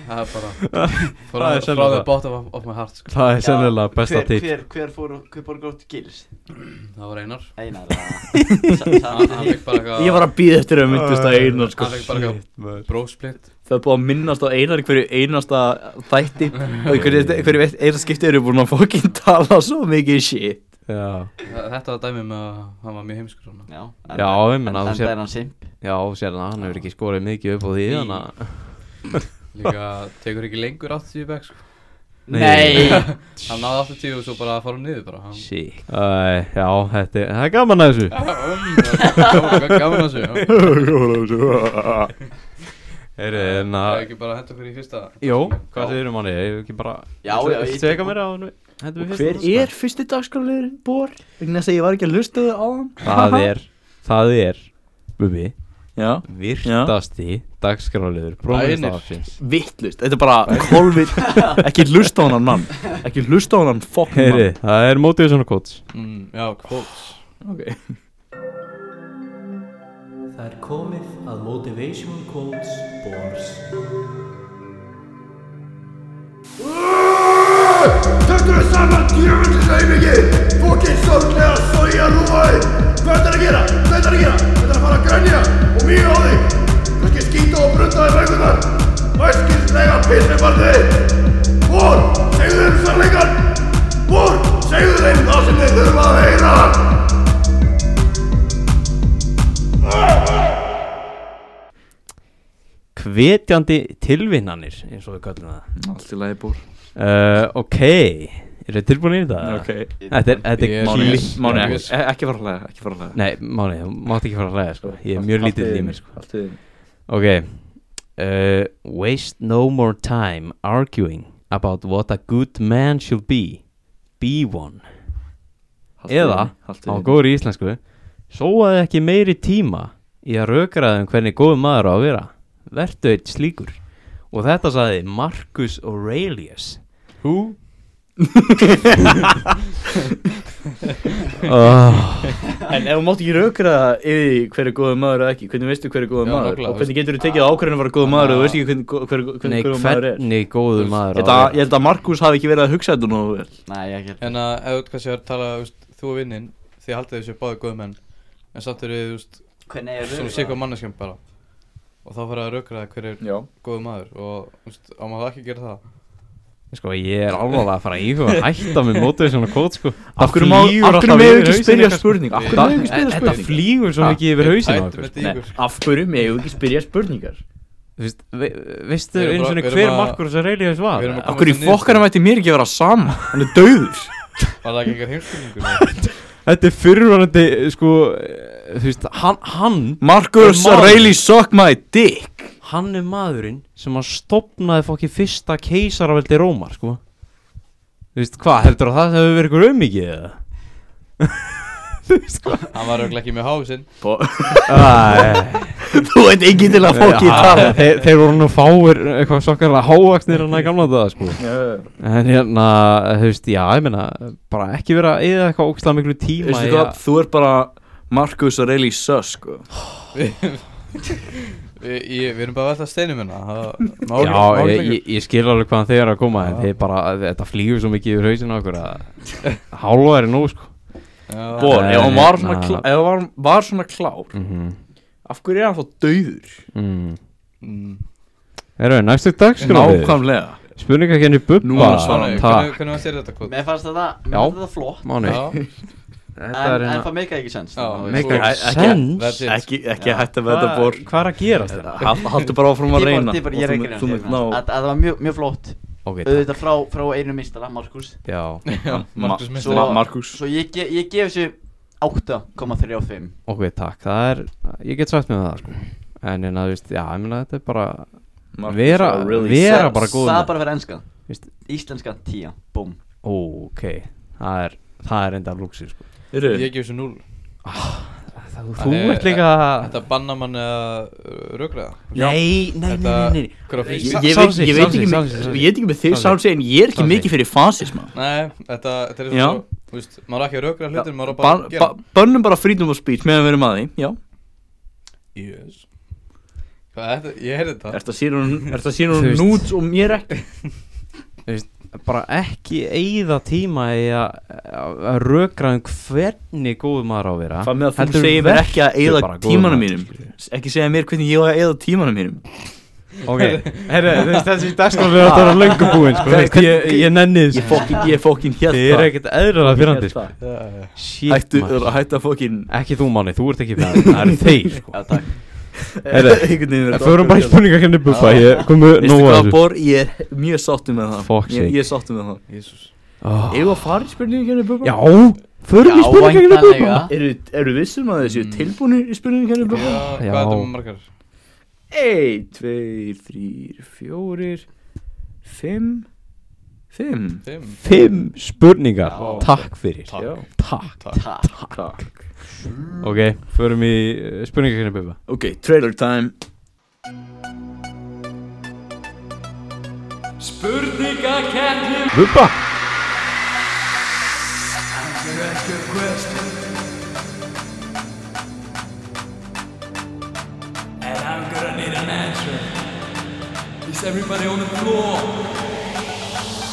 Speaker 1: það er bara
Speaker 2: Það
Speaker 1: frá,
Speaker 2: er
Speaker 1: frá
Speaker 2: sennilega.
Speaker 1: the bottom of, of my heart sko.
Speaker 2: Það er
Speaker 4: Já,
Speaker 2: sennilega besta
Speaker 4: hver,
Speaker 2: tipp
Speaker 4: hver, hver fór, og- hver borgar út gils?
Speaker 1: það var einar
Speaker 4: Einar að- sa-
Speaker 1: hann
Speaker 4: sa-
Speaker 1: hann fekk bara eitthvað
Speaker 3: Ég var að býða eftir að myndist að Einar sko
Speaker 1: hann fekk bara eitthvað brósplit
Speaker 3: Það er búið að minnast á Einar í hverju einasta þætti Og í hverju, hverju eina skipti eru búin að fokkin tala svo mikið shit
Speaker 2: Já,
Speaker 1: þetta var dæmið með að hann var mjög heimskur svona.
Speaker 4: já,
Speaker 2: Já, ég meina, þú
Speaker 4: þú
Speaker 2: sér-
Speaker 4: sér hann simp
Speaker 2: já sérna, hann hefur ekki skorið mikið upp á því þannig að-
Speaker 1: líka tekur ekki lengur 80 back sko.
Speaker 2: Nei.
Speaker 1: hann náði 80 og svo bara fór hann niður bara hann
Speaker 2: Shit Æ, Já, þetta er, það er gaman að þessu
Speaker 1: gaman gaman að þessu já.
Speaker 2: Heyrðu, en
Speaker 1: það er
Speaker 2: að
Speaker 1: ekki bara að henda okkur í fyrsta
Speaker 2: Jó, Ah. hvað segir um hann ég? Ég ekki bara
Speaker 4: Já, já,
Speaker 2: Ég
Speaker 4: ég-
Speaker 2: teka mér á hann Hentum við
Speaker 3: Hver
Speaker 2: fyrst
Speaker 3: er fyrsti dagskrálur bor? Vegna þess að ég var ekki að hlusta þau á hann
Speaker 2: Það er, það er Bubi,
Speaker 3: Já
Speaker 2: virtasti dagskráliður Brómiðist
Speaker 1: Bænir.
Speaker 2: afsins
Speaker 3: Vittlust, þetta er bara kolvit Ekki hlusta á hann mann Ekki hlusta á hann fokkin mann
Speaker 2: Heyri, það er motivation coach
Speaker 1: mm, já, quotes
Speaker 3: okay.
Speaker 5: Það er komið að Motivation Quotes Bors.
Speaker 6: Takk fyrir saman, djöfum til sæmingi Fokkin sorglega soja rúfaði Hvað þetta er að gera? Hvað þetta er að gera? Þetta er að fara að grænja og mjög á þig Kannski skýta og brunda í vöggunar Væskilslega pissi barði Bór, segðu þeim sannleikan Bór, segðu þeim það sem þeir þurfa að heyra
Speaker 2: Hver vetjandi tilvinnanir eins og við kallum það
Speaker 3: Allt í lagi búr
Speaker 2: uh, Ok, eru þið tilbúin í þetta? Þetta er, þetta er
Speaker 1: Yes.
Speaker 2: kli-
Speaker 1: Yes.
Speaker 3: Máni, ekki,
Speaker 1: Yes.
Speaker 3: e- ekki fara að hlæða, ekki fara að hlæða
Speaker 2: Nei, Máni, þú mátt ekki fara að hlæða sko. Ég er mjög lítill í mér sko.
Speaker 3: Allt í þínu.
Speaker 2: Ok uh, Waste no more time arguing about what a good man should be Be one
Speaker 3: Allt í
Speaker 2: Eða,
Speaker 3: þínu, allt í
Speaker 2: á
Speaker 3: þínu.
Speaker 2: góður í íslensku Sóaði ekki meiri tíma í að rökraða um hvernig góð maður á að vera Vertu eitt slíkur Og þetta sagði Marcus Aurelius
Speaker 1: Hú?
Speaker 2: oh,
Speaker 3: En ef þú mátt ekki rökra yfir því hver er góða maður eða ekki Hvernig veistu hver er góða
Speaker 1: Já,
Speaker 3: maður
Speaker 1: nákvæmlega,
Speaker 3: og hvernig getur þú tekið ákvörðin að vera góða maður og þú veist ekki hvernig hver, hver,
Speaker 2: Nei,
Speaker 3: hvernig góða maður er
Speaker 2: hvernig góður maður á
Speaker 3: Þetta,
Speaker 2: að
Speaker 3: ég
Speaker 2: vera
Speaker 3: held að Markus hafi ekki verið að hugsa þetta nú vel
Speaker 4: Nei, ég ekki
Speaker 1: En að Hérna, ef þú kannski er að tala, þú veist, þú og vinnin Þið haldið þessu báði góðu menn En samt eru þið, þú veist,
Speaker 4: Hvernig er
Speaker 1: svona sikkur manneskjum bara Og þá fara að rökra hver er
Speaker 3: Já
Speaker 1: góðu maður Og, þú veist, á maður ekki að gera það
Speaker 2: Sko, ég er alveg að fara að íhuga að hætta með mótið svona kót sko Það
Speaker 3: Af hverju má,
Speaker 2: flýgur
Speaker 3: af hverju
Speaker 2: alltaf
Speaker 3: meðu
Speaker 2: yfir
Speaker 3: ekki
Speaker 2: hausinn
Speaker 3: spyrja
Speaker 2: ykkar, sko.
Speaker 3: spurning Af hverju
Speaker 1: Það-
Speaker 3: meðu ekki spyrja Ah,
Speaker 2: Þetta
Speaker 3: spurning
Speaker 2: flýgur svo mikið yfir hausin á
Speaker 1: Ætum
Speaker 2: okkur sko.
Speaker 1: þetta í ykkur
Speaker 3: Nei, af hverju meðu ekki spyrja spurningar
Speaker 2: Þú veist, ve- Veistu
Speaker 1: Við erum
Speaker 2: eins og
Speaker 1: bara- við erum
Speaker 2: hver
Speaker 1: bara-
Speaker 2: Marcus Aurelius var?
Speaker 1: við erum að
Speaker 3: Af hverju
Speaker 1: Komast að
Speaker 3: fokkarum ætti mér ekki að vera saman Hann er döður
Speaker 1: Var það ekki eitthvað heimskunningur?
Speaker 2: Þetta er fyrirvörandi, sko, eh, þú veist, hann, hann,
Speaker 3: Markus
Speaker 2: Maður.
Speaker 3: really suck my dick
Speaker 2: hann er maðurinn sem að stopnaði fokki fyrsta keisaraveldi Rómar, sko. Þú veist, hvað, heldur að það hefur verið ykkur auðmikið eða? þú veist, hvað?
Speaker 1: Hann var auðvitað ekki með hásinn
Speaker 3: Bo-
Speaker 2: Æ,
Speaker 3: Þú veit ekki til að fokki tala
Speaker 2: Ah. þeir, þeir voru nú fáir eitthvað sokkarlega hávaksnir hann að gamla þetta, sko. En hérna, þú veist, já, ég meina, bara ekki vera eða eitthvað ógstlega miklu tíma
Speaker 3: Veistu
Speaker 2: í
Speaker 3: hvað,
Speaker 2: að-
Speaker 3: þú er bara Markus really suck sko
Speaker 1: Við ég- við erum bara alltaf steinum hérna það- mál-
Speaker 2: Já,
Speaker 1: mál-
Speaker 2: ég, ég, ég skil alveg hvaðan þeir eru að koma en þeir bara, þetta flýgur svo mikið yfir hausinu okkur að hálfa er nóg sko
Speaker 1: Já.
Speaker 3: Bor,
Speaker 2: Nei,
Speaker 3: ef hann var
Speaker 2: hérna.
Speaker 3: svona, klá, ef hann var, var svona klár
Speaker 2: mm -hmm.
Speaker 3: Af hverju er hann þá döður?
Speaker 2: mm.
Speaker 1: Mm.
Speaker 2: Eru, næstu sko. dagskráfið
Speaker 3: Nákvæmlega
Speaker 2: Spurningakenni
Speaker 3: Nú
Speaker 2: hérna Bubba
Speaker 3: er
Speaker 1: Svani,
Speaker 2: Takk,
Speaker 1: hvernig hvernig var þér þetta kvot?
Speaker 4: Mér fannst þetta, mér
Speaker 2: Já.
Speaker 4: fannst þetta flott
Speaker 2: Máni
Speaker 1: Já,
Speaker 2: Þetta
Speaker 4: En,
Speaker 2: er
Speaker 4: en
Speaker 2: hérna
Speaker 4: það meika ekki sens
Speaker 1: Já,
Speaker 2: Make
Speaker 1: Ekki-
Speaker 2: a
Speaker 3: ekki-
Speaker 1: that's
Speaker 2: sense
Speaker 1: it.
Speaker 3: Ekki, ekki hætt að
Speaker 2: Hvað
Speaker 3: veita bor
Speaker 2: hvað er að hérna? gera þetta?
Speaker 3: Hal- Haltu bara áfram að reyna
Speaker 4: Ég hérna.
Speaker 3: Og
Speaker 4: er ekki reyna
Speaker 3: þú mynd- Þú
Speaker 4: Þetta
Speaker 3: mynd ná
Speaker 4: þetta var mjög, mjög flott
Speaker 2: Ok, takk
Speaker 4: Auðvitað frá, frá einu mistara, Markus
Speaker 2: Já,
Speaker 1: já, Markus
Speaker 3: Ma-
Speaker 1: Mistari
Speaker 4: Svo-
Speaker 3: Markus
Speaker 4: Svo ég, ge- ég gef þessu 8,35
Speaker 2: ok, takk Það er, ég get sagt með það sko En hérna, þú veist, já, ég meina þetta er bara
Speaker 3: Markus
Speaker 2: Vera,
Speaker 3: are really
Speaker 2: vera
Speaker 3: sucks.
Speaker 2: bara góð
Speaker 4: Það
Speaker 2: með-
Speaker 4: er bara fyrir enska
Speaker 2: Veist-
Speaker 4: Íslenska 10, búm
Speaker 2: Ó, Ok, það er, það er enda lúksi sko
Speaker 3: Heyrðu,
Speaker 1: Ég gef þessu 0
Speaker 2: Það- Þú
Speaker 1: Það er-
Speaker 2: ert líka
Speaker 1: Þetta banna mann að rökraða
Speaker 2: Nei, nei, nei, nei, nei, nei.
Speaker 1: Hver á
Speaker 3: Ég,
Speaker 1: fyrst?
Speaker 3: ég, ég, veit,
Speaker 2: Samsi,
Speaker 3: ég, veit
Speaker 2: Samsi, Samsi,
Speaker 3: ekki, með-
Speaker 2: Samsi.
Speaker 3: ég veit ekki með þig
Speaker 2: Samsi.
Speaker 3: Samsi en ég er ekki
Speaker 2: Samsi.
Speaker 3: mikið fyrir fasisma
Speaker 1: Nei, þetta, þetta er
Speaker 3: Já.
Speaker 1: svo Þú veist, maður er ekki að rökra hlutin, maður er bara
Speaker 3: Ban-
Speaker 1: að gera
Speaker 3: ba- Bönnum bara freedom of speech meðan við erum að því Já
Speaker 1: Yes Hvað er þetta? Ég heyrði þetta
Speaker 3: Ertu að sýra hún, ertu að sýra
Speaker 2: Þú
Speaker 3: hún
Speaker 2: veist.
Speaker 3: nút og mér ekki
Speaker 2: bara ekki eigða tíma í að að rökra um hvernig góð maður á að vera
Speaker 3: Hvað með að þú
Speaker 2: Heldur
Speaker 3: segir mér ekki að
Speaker 2: vertu
Speaker 3: eyða
Speaker 2: bara góður
Speaker 3: tímanum
Speaker 2: maður,
Speaker 3: mínum Ekki segja mér hvernig ég á að eyða tímanum mínum
Speaker 2: ok, herru, þú veist þessi dagskóð við áttu að vera löngu búinn sko, þú veist, ég, ég nenni
Speaker 3: Ég
Speaker 2: þessu
Speaker 3: fokkin, ég fokkin hélt
Speaker 2: þið eru ekkert eðlulega
Speaker 3: Ég hélt
Speaker 2: fyrrandi sko.
Speaker 3: það.
Speaker 2: shit
Speaker 3: Hættu,
Speaker 2: maður
Speaker 3: hættu að fokkin
Speaker 2: ekki þú manni, þú ert ekki fyrrandi, það eru þeir sko.
Speaker 4: Já, takk
Speaker 2: Heyrðu,
Speaker 3: Einhvern veginn
Speaker 2: það fyrir bara í spurninga henni buffa, ég komu
Speaker 3: Veistu
Speaker 2: nóg að
Speaker 3: hvað,
Speaker 2: þessu
Speaker 3: Bor, ég er mjög sáttum með það
Speaker 2: Fuck's
Speaker 3: Ég
Speaker 2: sake.
Speaker 3: ég er sáttum með það
Speaker 1: Jesus
Speaker 2: Ó,
Speaker 3: Eða farið spurningin henni bubba?
Speaker 2: já, förum í hérna,
Speaker 4: Já,
Speaker 2: spurninga henni buffa
Speaker 4: væntanlega.
Speaker 3: hérna Eru, eru vissum að þessi mm. tilbúinir í spurningin henni
Speaker 1: Já,
Speaker 3: bubba?
Speaker 1: hvað
Speaker 2: Já.
Speaker 1: er þetta með margar?
Speaker 3: 1, 2, 3, 4, 5, 5
Speaker 1: Fimm?
Speaker 2: fimm spurningar,
Speaker 1: Já.
Speaker 2: takk fyrir
Speaker 1: Takk.
Speaker 3: Já.
Speaker 2: takk,
Speaker 4: Takk
Speaker 3: Takk
Speaker 2: ok, förum í eh, hérna, spurninga henni buffa
Speaker 3: Ok, trailer time
Speaker 2: buffa
Speaker 7: And I'm gonna need an answer. Is everybody on the floor?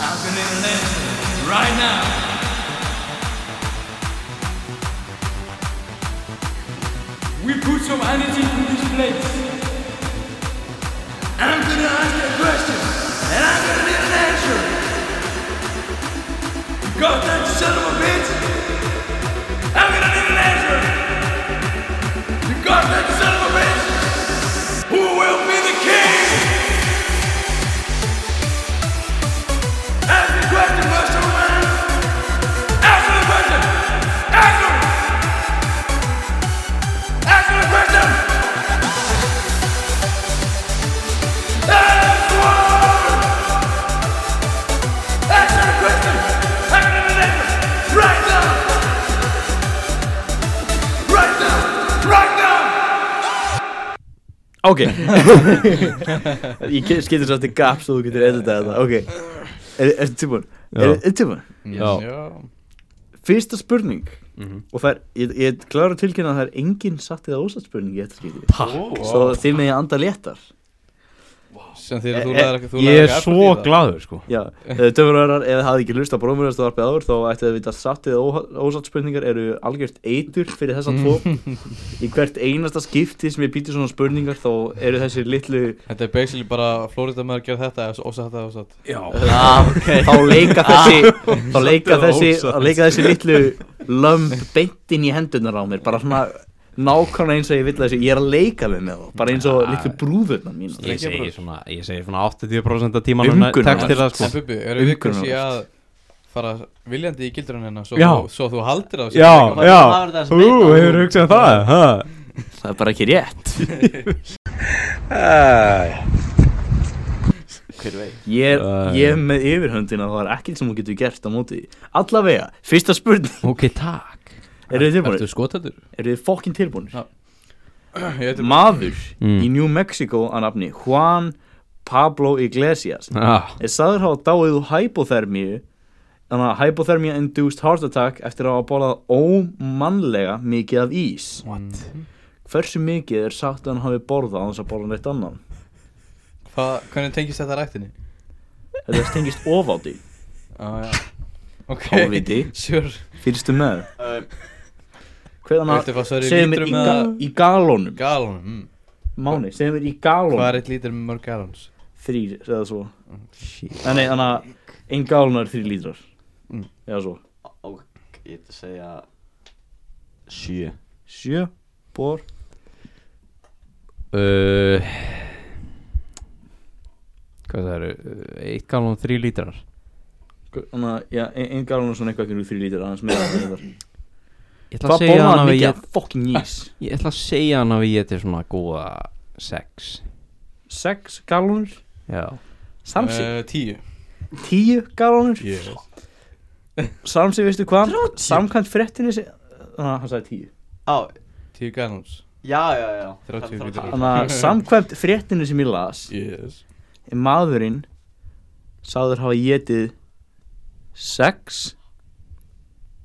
Speaker 7: I'm gonna need an answer right now. We put some energy in this place.
Speaker 6: I'm gonna ask you a question, and I'm gonna need an answer. Goddamn son of a bitch! I'm gonna need an answer. You goddamn son of a bitch! Who will be the king?
Speaker 3: Ok Ég ke- skilur svo eftir gap svo þú getur editað þetta Ok, Er- ertu tilbúin?
Speaker 2: Já.
Speaker 3: Er- Ertu tilbúin?
Speaker 1: Mm,
Speaker 2: Já.
Speaker 3: Fyrsta spurning
Speaker 2: Mhm.
Speaker 3: Og það er, ég, ég klára að tilkynna að það er engin satt eða ósatt spurning í þetta skipti Takk Svo þið með ég anda léttar
Speaker 1: sem þegar þú
Speaker 3: Eh, eh,
Speaker 1: laðir ekki þú
Speaker 2: Ég
Speaker 1: lagðir
Speaker 2: er
Speaker 1: ekki effort í
Speaker 2: svo
Speaker 1: það.
Speaker 2: gladur sko
Speaker 3: Já, döfuröðar eða hafði ekki hlust á brómurðast og arpið áður þá ætti þið að vita að satt eða óha- ósatt spurningar eru algjört eitur fyrir þessa tvo Í hvert einasta skipti sem ég býti svona spurningar þá eru þessir litlu
Speaker 1: Þetta er basically bara Florida maður gerð þetta og satt þetta og satt
Speaker 4: Ah,
Speaker 3: þá leika þessi þá leika þessi, þá leika þessi litlu lömb beint inn í hendunar á mér bara svona nákvæmlega eins og ég vill að þessu ég er að leika við með þá, bara eins og litlu brúðurnar mín
Speaker 2: Ég segi svona, ég segi svona 80% af tímanum
Speaker 3: Umgunar.
Speaker 2: Takk til það
Speaker 1: En
Speaker 2: sko
Speaker 1: Bubi, eru við
Speaker 3: Umhverfisvert.
Speaker 1: kannski að fara viljandi í gildurinn hennar svo,
Speaker 2: Já.
Speaker 1: þú- svo þú haldir á sér
Speaker 2: Já,
Speaker 1: Ekki bara-
Speaker 2: já,
Speaker 4: Það var þetta sem
Speaker 2: hú,
Speaker 4: leitað.
Speaker 2: hefur hugsað um það ha?
Speaker 3: það er bara ekki rétt
Speaker 4: Hver veit
Speaker 3: ég er,
Speaker 2: Æ.
Speaker 3: ég er með yfirhöndina og það er ekkert sem hún getur gert á móti því. allavega, fyrsta spurning
Speaker 2: Ok, takk
Speaker 3: eru þið tilbúinir?
Speaker 1: Ertu skotættur?
Speaker 3: eru þið fokkin tilbúinir?
Speaker 1: Já. Ég veit um
Speaker 3: maður
Speaker 2: Mm.
Speaker 3: í New Mexico að nafni Juan Pablo Iglesias
Speaker 2: ah,
Speaker 3: er sagður hafa dáið úr hypothermíu þannig að hypothermia induced heart attack eftir að hafa borðað ómannlega mikið af ís
Speaker 2: What?
Speaker 3: hversu mikið er sagt að hann hafi borðað án þess að borða neitt annan
Speaker 1: Hvað, hvernig tengist þetta rættinni?
Speaker 3: þetta stengist ofáti
Speaker 1: Já, Ah, já Ok,
Speaker 3: Hálfviti.
Speaker 1: sure
Speaker 3: fyrstu með
Speaker 4: Um,
Speaker 1: Uh, Viltu fá
Speaker 3: hvernig
Speaker 1: svar í
Speaker 3: segðu mér
Speaker 1: lítrum
Speaker 3: í,
Speaker 1: eða-
Speaker 3: ga í galónum
Speaker 1: Galon, mm.
Speaker 3: Máni, segðu mér í
Speaker 1: hvað er
Speaker 3: galónum
Speaker 1: eitt lítur með mörg galons?
Speaker 3: þrýr eða svo Nei, nei, þannig að ein galón er þrý lítrar
Speaker 1: Mm.
Speaker 3: eða svo
Speaker 4: og ég ætla að segja Sjö
Speaker 3: sjö bor
Speaker 2: uh, Hvað það eru? Uh, Eitt galvan og þrý lítrar
Speaker 3: þannig að ja, ein, ein galón er svona eitthvað ekki þrý lítrar aðeins meira en þrý lítrar.
Speaker 2: Ég ætla að
Speaker 3: hvað
Speaker 2: segja
Speaker 3: borðað
Speaker 2: hann
Speaker 3: hann
Speaker 2: að
Speaker 3: mikið
Speaker 2: ég
Speaker 3: af fucking ís
Speaker 2: Ég ætla að segja hann að ég geti svona góða sex
Speaker 3: sex galónur
Speaker 2: Já
Speaker 3: Samsi,
Speaker 1: Eh, Tíu
Speaker 3: tíu galónur
Speaker 1: Yes.
Speaker 3: Samsi, veistu hvað? Samkvæmt fréttinni sem Þannig að hann sagði tíu
Speaker 4: Á,
Speaker 1: Tíu galons
Speaker 4: já, já, já
Speaker 1: Þrjátíu
Speaker 4: Það-
Speaker 1: lítrar.
Speaker 4: þrjátíu.
Speaker 3: Þannig að samkvæmt fréttinni sem ég las
Speaker 1: Yes
Speaker 3: er maðurinn sagður hafa getið sex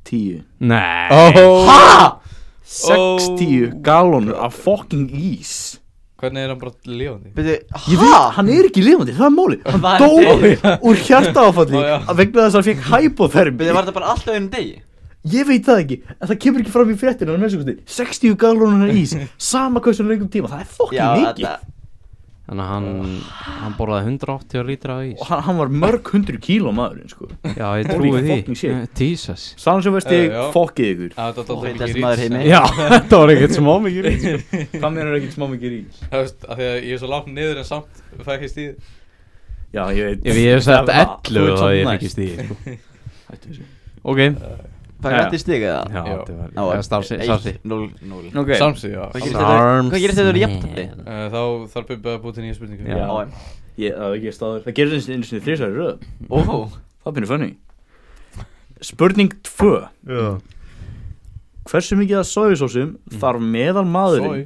Speaker 3: tíu
Speaker 2: Nei
Speaker 3: HA! Sex tíu galónur af fucking ís
Speaker 1: Hvernig er hann bara lifandi?
Speaker 4: Byrju,
Speaker 3: Ég veit, hann er ekki lifandi, það er máli Hann
Speaker 4: Var
Speaker 3: dó
Speaker 4: deyr.
Speaker 3: úr hjartaáfalli
Speaker 1: Ó, já.
Speaker 3: að vegna þess að hann fekk hypothermi
Speaker 4: Byrju, var þetta bara alltaf einu degi?
Speaker 3: Ég veit það ekki, en það kemur ekki fram í fréttinu að næstu kosti 60 galónunar ís, sama hversu lengum tíma, það er
Speaker 4: Já,
Speaker 3: fokkin mikið
Speaker 4: þetta
Speaker 2: Þannig að hann, hann borðaði 180 lítra af ís
Speaker 3: Og hann, hann var mörg hundru kíló maðurinn, sko
Speaker 2: Já, ég
Speaker 3: Holy
Speaker 2: trúi
Speaker 3: fucking
Speaker 2: því
Speaker 3: shit.
Speaker 2: Eh, Jesus
Speaker 3: Sannsjó veist
Speaker 1: Eh,
Speaker 3: ég,
Speaker 1: já.
Speaker 3: fokkið ykkur
Speaker 1: Á, Þetta er alltaf
Speaker 4: Óvitast
Speaker 1: mikið
Speaker 4: maður
Speaker 1: rýts
Speaker 4: heimi.
Speaker 2: Já, þetta var ekkert smá mikið rít
Speaker 3: Hvað meina er ekkert smá mikið ís?
Speaker 1: Það veist, af því að ég er svo lágt niður en samt fækist í
Speaker 3: Já, ég veit
Speaker 2: Ef ég hef sett 11 þá
Speaker 3: það
Speaker 2: ég fikk í sko. stíð Ok,
Speaker 4: Hvað
Speaker 3: Já, já.
Speaker 4: grætti stig eða?
Speaker 2: já,
Speaker 1: Já.
Speaker 2: þetta
Speaker 4: Á,
Speaker 2: var Starsi, starsi
Speaker 4: 0, 0
Speaker 3: Ok,
Speaker 1: Samsi, já
Speaker 4: Hvað
Speaker 1: Eh,
Speaker 4: gerist þetta?
Speaker 2: Arms
Speaker 4: Hvað gerist þetta verið
Speaker 2: man.
Speaker 4: jafntefni?
Speaker 1: Þá þarf Bubbi að búið til nýja spurningu
Speaker 2: Já.
Speaker 4: Já, en-
Speaker 3: ég, það er ekki staður Það gerir eins og einu sinni þrísværi röð
Speaker 4: ó
Speaker 3: Það finnir fönni Spurning 2 Hversu mikið af sojusósum
Speaker 2: Mm.
Speaker 3: þarf meðal
Speaker 1: Soj.
Speaker 3: maðurinn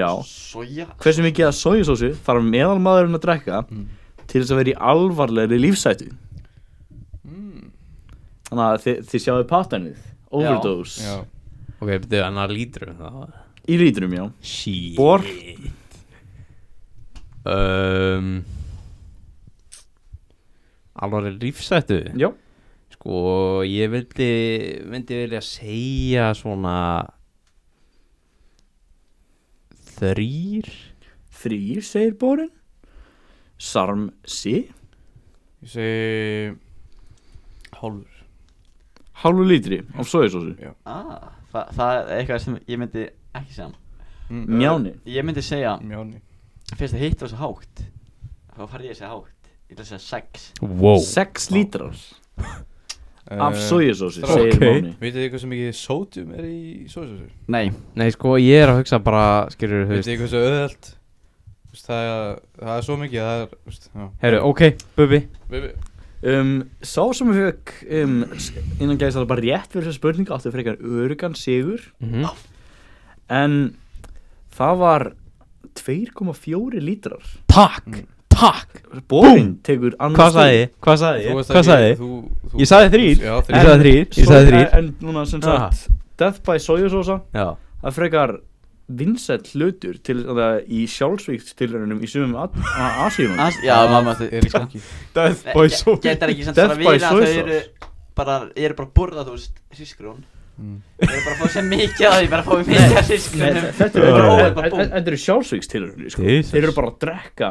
Speaker 3: Já,
Speaker 4: Soja
Speaker 3: hversu mikið af sojusósu þarf meðal maðurinn að drekka
Speaker 1: Mm.
Speaker 3: til þess að vera í alvarlegri lífsætu
Speaker 1: Mm.
Speaker 3: Þannig að þið, þið sjáðu patternið Overdose
Speaker 1: Já
Speaker 2: Ok, betur hann að lítru um það var
Speaker 3: Í lítrum, já
Speaker 2: Shit
Speaker 3: Bor.
Speaker 2: um, Alvarleg lífsættu
Speaker 3: Já,
Speaker 2: Sko, ég vildi myndi vilja segja svona þrýr
Speaker 3: þrýr, segir Bórin Sarm sí
Speaker 1: Ég segi Hálfur
Speaker 3: Hálfu lítri af sojusósu
Speaker 4: Ah, það, það er eitthvað sem ég myndi ekki segja
Speaker 1: mm.
Speaker 3: Mjáni
Speaker 4: Ég myndi segja,
Speaker 1: Mjáni
Speaker 4: fyrst að hitt var svo hátt Þá fari ég að segja hátt Ég ætla að segja 6
Speaker 2: Wow
Speaker 3: Sex lítrar
Speaker 1: Eh,
Speaker 3: af sojusósu,
Speaker 1: strák.
Speaker 3: segir
Speaker 2: Ok.
Speaker 3: Máni
Speaker 1: Vitið þið hversu mikið sódjum er í sósjósu?
Speaker 4: Nei
Speaker 2: Nei, sko, ég er að hugsa bara, skilur
Speaker 1: Vitið
Speaker 2: þú veist
Speaker 1: þið hversu auðvelt? Þú veist, Það er, það er svo mikið, það er, þú veist, já
Speaker 2: Herru, ok, Bubi
Speaker 1: Baby,
Speaker 3: um, Sá sem fekk um, s- innan gæðist að bara rétt fyrir þessa spurningu átti
Speaker 2: Mhm.
Speaker 3: frekar örugan sigur
Speaker 2: mm -hmm.
Speaker 3: en það var 2,4 lítrar
Speaker 2: Takk, Mm. takk
Speaker 3: Bórin tekur annars
Speaker 2: Hvað sagði ég? Hvað sagði
Speaker 1: Þú
Speaker 2: ég?
Speaker 1: veist
Speaker 2: Hvað
Speaker 1: ekki,
Speaker 2: sagði ég?
Speaker 1: þú, þú,
Speaker 2: Ég sagði þrír
Speaker 1: Já,
Speaker 2: Ég
Speaker 1: þrýr
Speaker 2: sagði þrír Ég sagði þrír
Speaker 3: En núna sem
Speaker 2: Ah.
Speaker 3: sagt Death by Sojasósa
Speaker 2: Já
Speaker 3: Það er frekar vinsett hlutur til það í sjálfsvíkstilrunum í sumum Asíunum
Speaker 4: As- Já, mamma þau
Speaker 1: er í skakki
Speaker 2: Death
Speaker 4: Nei, ge- Getur ekki sem
Speaker 3: Death
Speaker 4: svona
Speaker 3: by
Speaker 4: við að
Speaker 3: soy
Speaker 4: þau
Speaker 3: sauce.
Speaker 4: eru bara, ég er bara að borða þú veist, sískrún
Speaker 3: Mm.
Speaker 4: Ég er bara að fá sem mikið af því, bara að fá mikið af sískrúnum
Speaker 3: Þetta
Speaker 2: Nei,
Speaker 3: eru-
Speaker 4: bara
Speaker 3: þetta-
Speaker 4: búm.
Speaker 3: þetta eru sjálfsvíkstilrunum sko.
Speaker 2: Jesus.
Speaker 3: Þeir eru bara að drekka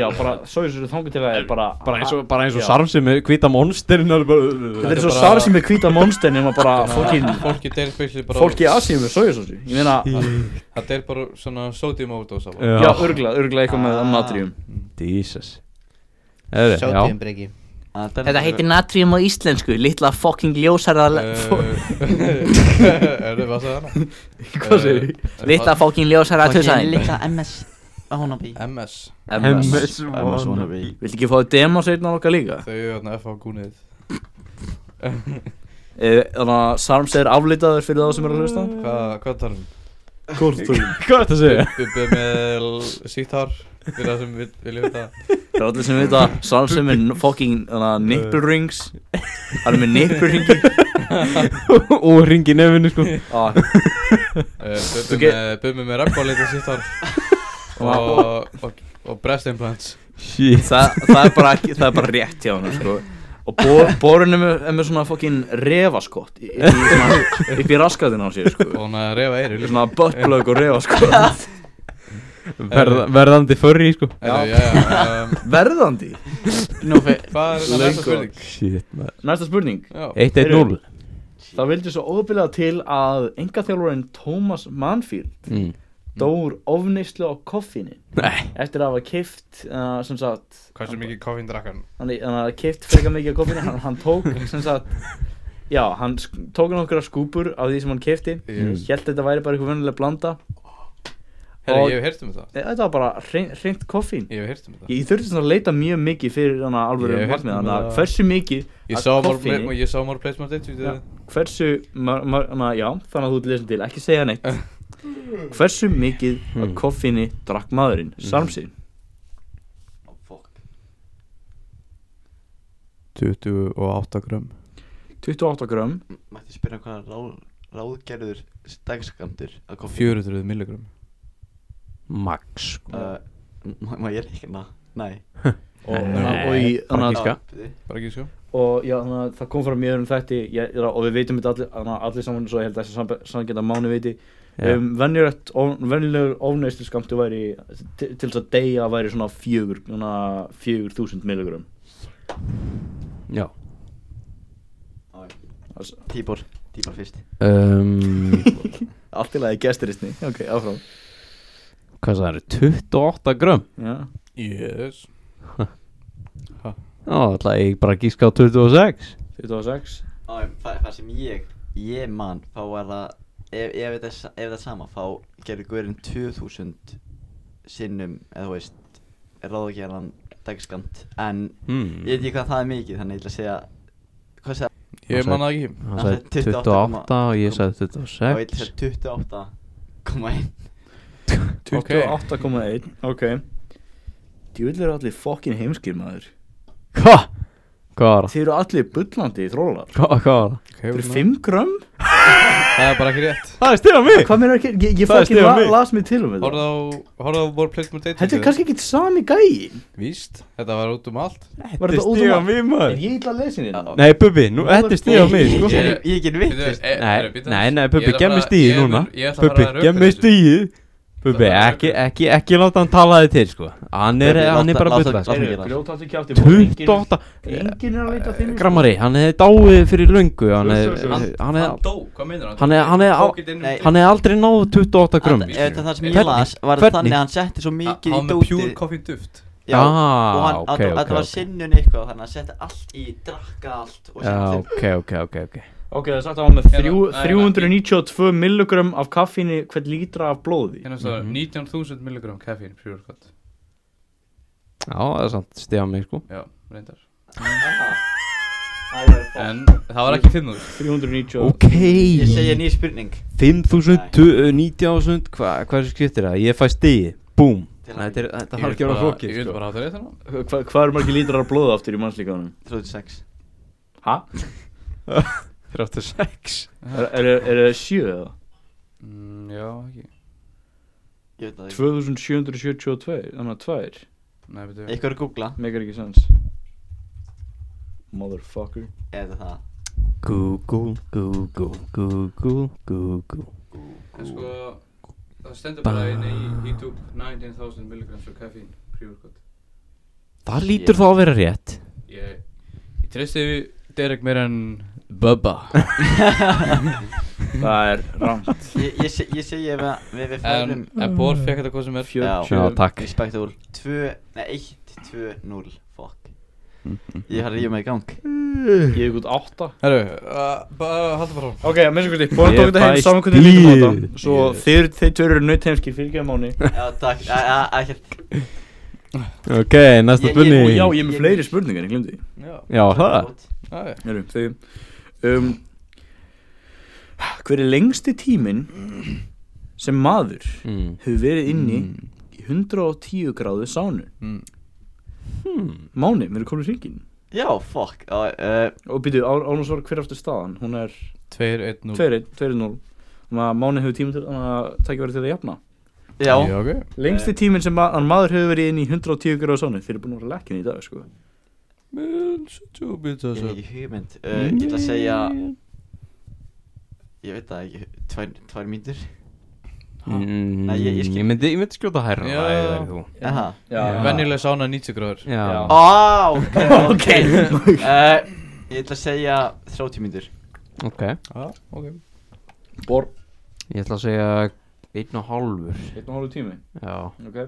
Speaker 3: Já, bara sojasósu þangu til að það er bara
Speaker 2: Bara eins og, bara eins og
Speaker 3: Já.
Speaker 2: sarmsi með hvita monsterinn
Speaker 3: Þetta
Speaker 2: Þetta
Speaker 3: er svo
Speaker 1: bara-
Speaker 3: sár sem er hvita monster nema bara fólkin
Speaker 1: Fólki deyr spilsið bara
Speaker 3: Fólk í Asíum er sojasósu Ég meina,
Speaker 1: Það deyr bara svona sodium overdose af
Speaker 3: já, örgla, örgla eitthvað með natrium
Speaker 2: Jesus Hefði, já
Speaker 8: Sjótiðum breki
Speaker 4: Ah,
Speaker 3: natrium á íslensku, litla fucking ljósara
Speaker 1: Eh,
Speaker 3: Eh,
Speaker 1: Er þið hvað sagði hana?
Speaker 3: Hvað segir
Speaker 1: Eh, er það-
Speaker 3: fucking ljósara
Speaker 4: Lilla MS Wannabe
Speaker 1: MS
Speaker 3: Viltu
Speaker 4: MS Wannabe
Speaker 3: ekki fá þau demo sérna okkar líka?
Speaker 1: Þau eru þarna FH gúnið
Speaker 3: Eh, Þannig að Sarms er aflitaður fyrir þá sem er að hlusta
Speaker 1: Hvað hvað talar um?
Speaker 2: Hvað er þetta að segja?
Speaker 1: Bubbi með l- sítt hár Fyrir það sem vil- vilja vita
Speaker 3: Það er allir sem veit að Sarms er með fucking þannig að nipple rings Hann er með nipple ringi
Speaker 2: Og ringi nefninu sko
Speaker 3: ah,
Speaker 1: Eh,
Speaker 3: Þú
Speaker 1: Bubbi
Speaker 3: ge-
Speaker 1: með Bubbi með reppálit og sítt hár Og- og- Og breast implants
Speaker 2: Shit
Speaker 3: það, það, er bara, ekki- það er bara rétt hjá hann sko. Og bor, borunum er er með svona fucking refaskott í- í- í svona- Upp í raskatina á sér
Speaker 1: Og
Speaker 3: sko
Speaker 1: hún að refa eyru líka
Speaker 3: Svona buttplug og refaskott
Speaker 2: Verð, Verðandi förri sko
Speaker 1: Heyrðu, Já, já, um,
Speaker 3: Verðandi
Speaker 4: Nú fyrir
Speaker 1: Hvað er það næsta
Speaker 3: Löngu.
Speaker 1: spurning?
Speaker 2: Shit maður
Speaker 3: Næsta spurning
Speaker 2: 1-1-0
Speaker 3: Það vildi svo óbyrlega til að engaþjálfurinn Thomas Manfield
Speaker 2: Mm.
Speaker 3: dór ofnislu á koffinu
Speaker 2: Nei
Speaker 3: eftir að hafa kift uh, sem sagt
Speaker 1: Hversu mikið koffín drakk
Speaker 6: é?
Speaker 1: hann?
Speaker 3: hann hann hafði kipt freka mikið af koffinu hann, hann tók sem sagt já, hann sk- tók nokkra skúpur af því sem hann kifti
Speaker 1: Yes.
Speaker 3: held þetta væri bara eitthvað vönnilega blanda
Speaker 1: Herra,
Speaker 3: Og-
Speaker 1: ég hef heyrt um það
Speaker 3: Nei, þetta var bara hrein- hreint koffín
Speaker 1: Ég hef heyrt um það
Speaker 3: ég, ég þurfti svona að leita mjög mikið fyrir hann að alveg
Speaker 1: Ég
Speaker 3: um
Speaker 1: hef heyrt
Speaker 3: haldmið
Speaker 1: um
Speaker 3: hann að
Speaker 1: það.
Speaker 3: hversu mikið
Speaker 1: Ég
Speaker 3: af
Speaker 1: sá more
Speaker 3: koffíni-
Speaker 1: pla- Ég sá more placement eitt
Speaker 3: Já. hversu mar, mar, na, já, þannig að þú ert lesin til, ekki segja neitt hversu mikið af koffíni drakk maðurinn, Sarmsi
Speaker 1: 28 grömm
Speaker 3: 28 gram,
Speaker 4: Mætti spyrja hvað ráð, ráðgerður dagskamtur að koma
Speaker 1: 400 milligrömm
Speaker 2: Max sko
Speaker 4: uh, Má má ég reikna? Nei
Speaker 3: og,
Speaker 2: Nei,
Speaker 3: na, og, í,
Speaker 2: bara
Speaker 3: na,
Speaker 2: Giska.
Speaker 4: Já, byrju.
Speaker 1: Bara ekki sko
Speaker 3: og já, na, það kom frá mjög um þætti ég, na, og við veitum þetta allir, na, allir saman svo ég held að þessi samgeta mánu veiti
Speaker 2: Já.
Speaker 3: um, venjulegt of- venjulegur ofneislu skamtu væri til, til þess að deyja væri svona fjögur na, fjögur þúsund milligram
Speaker 2: Já
Speaker 4: Á, já.
Speaker 3: Alls-
Speaker 4: Tíbor, Tíbor fyrst
Speaker 2: um,
Speaker 3: allt í lagi gesturistni, ok, áfram
Speaker 2: Hvað það eru? 28 grömm
Speaker 3: já,
Speaker 1: Yes
Speaker 2: Já, ætla ég bara að gíska á 26
Speaker 3: 26
Speaker 4: Á, já, það, það sem ég, ég man, þá var það Ef, ef, þetta, er sa- ef það er sama, þá gerði guðurinn 2000 sinnum, eða þú veist, ráðgerðan dagskamt En
Speaker 2: hmm.
Speaker 4: ég veit ekki hvað það er mikið, þannig ég ætla að segja Hvað segja?
Speaker 1: Ég
Speaker 2: Hann
Speaker 1: man það ekki
Speaker 2: Hann
Speaker 4: Hann
Speaker 2: sagði
Speaker 4: sagði 28
Speaker 2: 28 og ég sagði
Speaker 4: Þá ég ætla
Speaker 2: 26
Speaker 4: að segja 28,1
Speaker 1: Ok.
Speaker 3: 28,1 Ok Djúvill eru allir fokkin heimskir maður
Speaker 2: Hva? Hvað var það?
Speaker 3: Þeir eru allir bullandi í þrólar
Speaker 2: Hva, hvað var það?
Speaker 1: okay,
Speaker 3: Þeir eru
Speaker 1: svona.
Speaker 3: 5 grömm?
Speaker 1: Það er bara ekki rétt
Speaker 2: Það er stila mig!
Speaker 3: Hvað meira ekki? Ég, ég
Speaker 2: Það er
Speaker 3: fokkin
Speaker 2: stig á
Speaker 3: la,
Speaker 2: mig.
Speaker 3: las mig til um þetta
Speaker 1: Horfðu á Horfðu á more placement eitt
Speaker 3: Þetta er kannski ekkit sami gæi
Speaker 1: Víst Þetta var út um allt
Speaker 3: Var þetta út
Speaker 2: stig á
Speaker 3: um að
Speaker 2: mig maður
Speaker 3: Ég illa að lesa hérna
Speaker 4: Já.
Speaker 2: Nei Bubbi, nú, þetta er stig á mig sko
Speaker 4: Ég- ég- Ég get vitt
Speaker 1: Bíddu, e-
Speaker 2: Nei,
Speaker 1: bíddu, bíddu.
Speaker 2: nei, nei,
Speaker 1: Ég
Speaker 2: Bubbi,
Speaker 1: ætla
Speaker 2: gef
Speaker 1: bara-
Speaker 2: mig stigið
Speaker 1: ég er-
Speaker 2: núna
Speaker 1: Ég ætla að
Speaker 2: Bubbi,
Speaker 1: fara að
Speaker 2: gef
Speaker 1: rökfæra
Speaker 2: mig
Speaker 1: þessu.
Speaker 2: stigið Bubbi,
Speaker 1: Það er
Speaker 2: ekki,
Speaker 1: rökrétt.
Speaker 2: ekki, ekki láta hann tala þig til sko Hann er,
Speaker 4: Bubbi,
Speaker 2: hann
Speaker 4: láta-
Speaker 2: er bara
Speaker 4: láta-
Speaker 2: bullast
Speaker 4: láta-
Speaker 3: Grjóta allir kjátti
Speaker 2: 28
Speaker 3: Engin er að leita þinn
Speaker 2: Mm. Grammari, hann hefði dáið fyrir löngu Hann hefði,
Speaker 1: Hann
Speaker 2: hann
Speaker 1: hann
Speaker 2: hefði
Speaker 1: dó Hvað meinar hann?
Speaker 2: Hann um er- hann er á-
Speaker 1: Tók it in-
Speaker 4: Nei.
Speaker 2: Hann hefði aldrei náð 28 grömm
Speaker 4: Ef þetta er það sem ég
Speaker 2: Hvernig?
Speaker 4: las var
Speaker 2: Hvernig?
Speaker 4: þannig að hann setti svo
Speaker 1: Hann
Speaker 4: mikið í
Speaker 1: hann með
Speaker 4: dóti
Speaker 1: pure coffee duft
Speaker 4: Já,
Speaker 2: Ah,
Speaker 4: og hann,
Speaker 2: ok,
Speaker 4: að, að,
Speaker 2: ok,
Speaker 4: það var
Speaker 2: ok.
Speaker 4: sinnun eitthvað þannig að hann setti allt í, drakka allt og
Speaker 2: Já,
Speaker 4: setti
Speaker 2: ok, ok, ok, ok
Speaker 3: Ok, það er sagt að hann var með
Speaker 1: Hérna,
Speaker 3: þrjú,
Speaker 1: nei, nei.
Speaker 3: 392 milligram af kaffínu hvern lítra af blóði
Speaker 1: Hérna svo 19.000 milligram caffeine pure cut
Speaker 2: Já, það er samt stiga mig sko
Speaker 1: Já, reyndar
Speaker 4: það var
Speaker 1: En það var ekki 5000
Speaker 3: 390
Speaker 2: Ok
Speaker 4: Ég segja ný spurning
Speaker 2: 5000, 9000, hvað hva skiptir það? Ég fæ stigi, búm
Speaker 4: Til
Speaker 2: Þetta er- þetta
Speaker 1: Ég vil
Speaker 2: har ekki verið
Speaker 1: bara-
Speaker 2: flókið
Speaker 1: Ég vil
Speaker 2: sko.
Speaker 1: bara hafa það rétt hérna
Speaker 3: Hva, Hvað eru margir lítrar af blóðu aftur í mannslíkanum?
Speaker 4: 36
Speaker 3: Hæ?
Speaker 2: 36
Speaker 3: Er, er, er það 7 eða?
Speaker 1: Mm, Já, ekki
Speaker 4: Ég veit það ekki
Speaker 3: 2772, þannig að 2
Speaker 1: Nei, veitum við
Speaker 4: Eitthvað er að googla
Speaker 3: Megar ekki sens Motherfucker
Speaker 4: Eða það
Speaker 2: Google, Google, Google, Google
Speaker 1: En sko, það stendur bara einni í YouTube 19.000 milligrams of caffeine pre-workout
Speaker 2: Það lítur þá að vera rétt
Speaker 1: Ég, ég treysti Derek meira en Bubba
Speaker 3: Það er rangt
Speaker 4: Ég, ég, se- ég segja ef að við, við
Speaker 1: En,
Speaker 4: færum
Speaker 1: en Bor fekk þetta hvað sem er
Speaker 4: Já.
Speaker 2: Já, takk
Speaker 4: Respekt úr 2, nei 1, 2, 0 Fuck Ég har ríðum mig í gang
Speaker 3: Ég hef gút 8
Speaker 1: Herru, uh, bara halda bara
Speaker 3: Ok, að minnst okkur því, bóðum
Speaker 2: Ég
Speaker 3: tókum þetta heim
Speaker 2: fæ
Speaker 3: saman hvernig við lítum á
Speaker 2: stíð.
Speaker 3: þetta Svo
Speaker 2: Yes.
Speaker 3: þeir, þeir tveir eru naut heimskir fyrir ekki að mánu
Speaker 4: Já takk, Æ, æ, ekkert
Speaker 2: Ok, næsta
Speaker 4: Ég- ég-
Speaker 2: spurning
Speaker 3: Og já, ég er með fleiri spurningar, ég glemdi því
Speaker 1: Já,
Speaker 2: Já, það
Speaker 1: já, já
Speaker 3: Heru, þeir, um, Hver er lengsti tíminn sem maður
Speaker 2: mm.
Speaker 3: hefur verið inni í 110 gráðu sánu
Speaker 1: Mm.
Speaker 2: Hmm.
Speaker 3: Máni, við erum komin í ríkin
Speaker 4: Já, fuck Já, uh,
Speaker 3: Og býtu, Ánum svar hver aftur staðan Hún er
Speaker 1: 2-1-0
Speaker 3: 2-1, 2-0 Þannig að Máni hefur tíma til þannig að tækja verið til að jafna
Speaker 4: já
Speaker 1: ok
Speaker 3: Lengsti tíminn sem ma að maður hefur verið inn í 110 gráðu sánu Þeir eru búin að vera lekkin í dag, sko
Speaker 1: Menn, svo býta
Speaker 4: Ég hef
Speaker 1: svo
Speaker 4: ekki hugmynd uh, Ég ætla að segja Ég veit það ekki Tvær, tvær mínútur
Speaker 2: Mm,
Speaker 4: Nei, ég- ég skil-
Speaker 2: ég, myndi, ég myndi skjóta hærra
Speaker 1: Já.
Speaker 2: Æ, það er þú.
Speaker 4: Aha
Speaker 2: Já.
Speaker 1: Venjuleg sána 90 gráður
Speaker 2: Já.
Speaker 3: Já.
Speaker 4: Á, ok, ok uh, Ég ætla að segja 30 mínútur
Speaker 2: ok
Speaker 1: Já, ok
Speaker 3: Bor
Speaker 2: Ég ætla að segja einn og hálfur
Speaker 3: Einn og hálfu tími
Speaker 2: Já
Speaker 3: Ok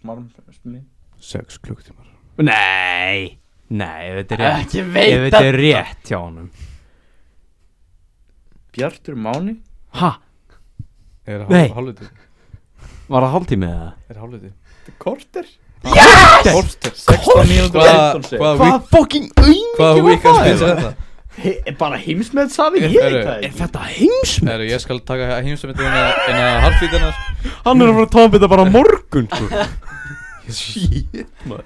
Speaker 3: Smarm Smi
Speaker 1: 6 klukktímar
Speaker 2: Nei Nei, ef þetta er rétt
Speaker 4: Eh, Ekki
Speaker 2: Ef
Speaker 4: veit
Speaker 2: þetta
Speaker 4: að
Speaker 2: er rétt hjá honum
Speaker 3: Bjartur Máni
Speaker 2: Ha,
Speaker 1: Er
Speaker 2: Nei.
Speaker 1: hál- hálfviti
Speaker 2: var það hálftími eða?
Speaker 1: Er hálfviti
Speaker 3: Korter
Speaker 1: Korter
Speaker 3: 16 mínútur og 15 seg
Speaker 1: Hvaða vík
Speaker 2: fucking
Speaker 1: Hvaða vík að spila þetta?
Speaker 3: Er bara heimsmeð safi
Speaker 1: Ég
Speaker 3: Ég
Speaker 1: veit
Speaker 3: veit
Speaker 1: það
Speaker 3: það
Speaker 2: Er þetta heimsmið?
Speaker 1: Herru, ég skal taka heimsumindin en að hartvítina
Speaker 2: Hann er að fara að tala um þetta bara á morgun sko. Shit, maður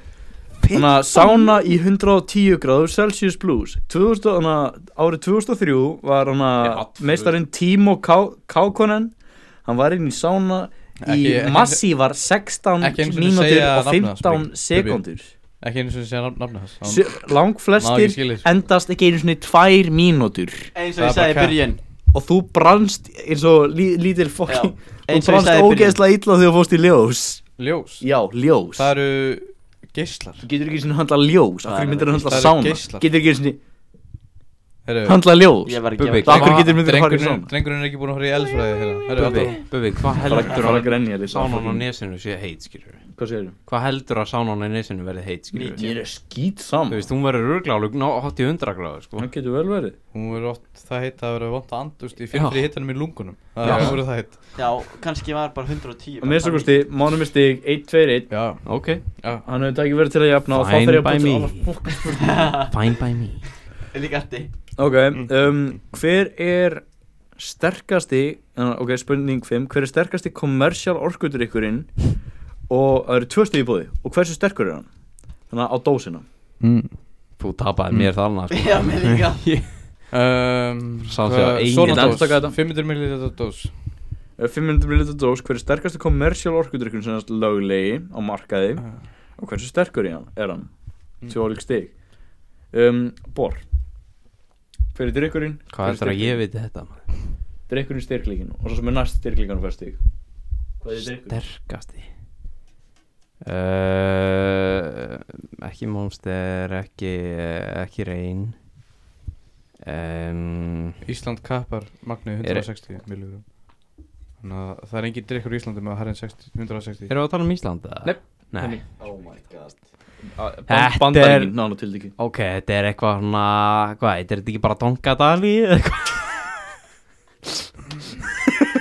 Speaker 3: Þannig að sána í 110 gráður Celsius Blues 2000, þannig að árið 2003 var hann að meistarinn Timo Ká- Kaukonen Hann var inn í sána í
Speaker 1: Ekki- ekki-
Speaker 3: massívar 16
Speaker 1: ekki einu sinni
Speaker 3: mínútur
Speaker 1: segja
Speaker 3: og
Speaker 1: nafnið hans,
Speaker 3: 15
Speaker 1: Bubbi.
Speaker 3: sekundur
Speaker 1: Ekki einu sem sé nafna hans Hann- Má ekki skilja
Speaker 3: Langflestir
Speaker 1: þessu.
Speaker 3: endast ekki einu svona tvær mínútur
Speaker 4: Eins
Speaker 1: Það er
Speaker 4: og ég
Speaker 1: bara
Speaker 4: sagði í
Speaker 1: cat.
Speaker 4: byrjun
Speaker 3: og þú brannst eins og lí, lítil fokki þú
Speaker 4: Eins og ég
Speaker 3: brannst
Speaker 4: sagði í byrjun
Speaker 3: ógeðslega illa þegar þú fórst í ljós
Speaker 1: Ljós
Speaker 3: já, ljós
Speaker 1: Það eru geislar
Speaker 3: þú getur ekki einu sinni handla ljós af
Speaker 4: Það
Speaker 3: hverju
Speaker 4: eru-
Speaker 3: myndir þú handla
Speaker 1: það eru
Speaker 3: sána
Speaker 1: geislar.
Speaker 3: getur ekki einu sinni
Speaker 1: Herru
Speaker 3: handla ljós
Speaker 4: Ég var ekki
Speaker 2: Bubbi,
Speaker 4: að
Speaker 3: af hverju getur myndir að fara í
Speaker 1: drengurinn-
Speaker 3: sána
Speaker 1: Drengurinn er ekki búin að horfa í eldfræði hérna Herru,
Speaker 2: Bubbi,
Speaker 1: Adolf.
Speaker 2: Bubbi, hvað heldur að
Speaker 3: grenja
Speaker 2: sánan á nesinu sé heit, skilur við?
Speaker 3: hvað segir þú?
Speaker 2: Hvað heldur að sánan á nesinu verði heit, skilur við?
Speaker 3: ég er skýt
Speaker 2: Þú
Speaker 3: saman
Speaker 2: veist, hún verður rugglálug ná 80-100 gráður, sko
Speaker 3: það getur vel verið
Speaker 1: Hún verður oft það heitt að vera vant að andust í
Speaker 2: Já.
Speaker 1: fyrir hittanum í lungunum Það er verið það heitt
Speaker 4: Já, kannski var bara 110
Speaker 3: að minnst okkur stig mánum er stig 1-2-1
Speaker 1: Já
Speaker 2: Ok,
Speaker 3: hann hefur ekki verið til að jafna og þá
Speaker 2: Fine
Speaker 3: þarf ég að
Speaker 2: by
Speaker 3: búin
Speaker 2: me.
Speaker 3: alla fokkin
Speaker 2: fine by me
Speaker 4: Líka arti
Speaker 3: Ok,
Speaker 2: Mm.
Speaker 3: um, hver er sterkasti, eh, ok, spurning 5, hver er sterkasti kommersial orkudrykkurinn og það eru tvö stig í búði og hversu sterkur er hann? Þannig að á dósina.
Speaker 2: Þú tapaði mér þarna, sko
Speaker 4: Já, mér líka
Speaker 1: Um,
Speaker 2: Sá sig á
Speaker 1: hvað-
Speaker 2: einu.
Speaker 1: Svona
Speaker 2: Ég
Speaker 3: ætla að taka þetta.
Speaker 1: dós 500 ml dós
Speaker 3: Eh, 500 ml dós, hver er sterkasti kommersial orkudrykkurinn sem er löglegi á markaði
Speaker 2: Ah.
Speaker 3: og hversu sterkur er hann? Er hann?
Speaker 2: Mm.
Speaker 3: Tvö ólík stig. Um, bor. Hver er drykkurinn?
Speaker 2: Hvað heldur að ég viti þetta? maður?
Speaker 3: Drykkurinn styrklíkin og svo sem er næst styrklíkan fær stig. Hvað er drykkurinn?
Speaker 2: Sterkasti uh, Ekki Monster, ekki, eh, ekki Rain um,
Speaker 1: Ísland kappar magni
Speaker 2: Er-
Speaker 1: 160 ml Þannig að það er engin drikkur í Íslandi með að herra en 60 160
Speaker 2: Erum við að tala um Ísland? eða?
Speaker 3: Nei.
Speaker 2: Nei.
Speaker 4: Oh my god
Speaker 2: Þetta er-
Speaker 3: Bandaríkin, nána til ekki.
Speaker 2: Ok, þetta er eitthvað svona Hvað, þetta er þetta ekki bara Donkadali eða eitthvað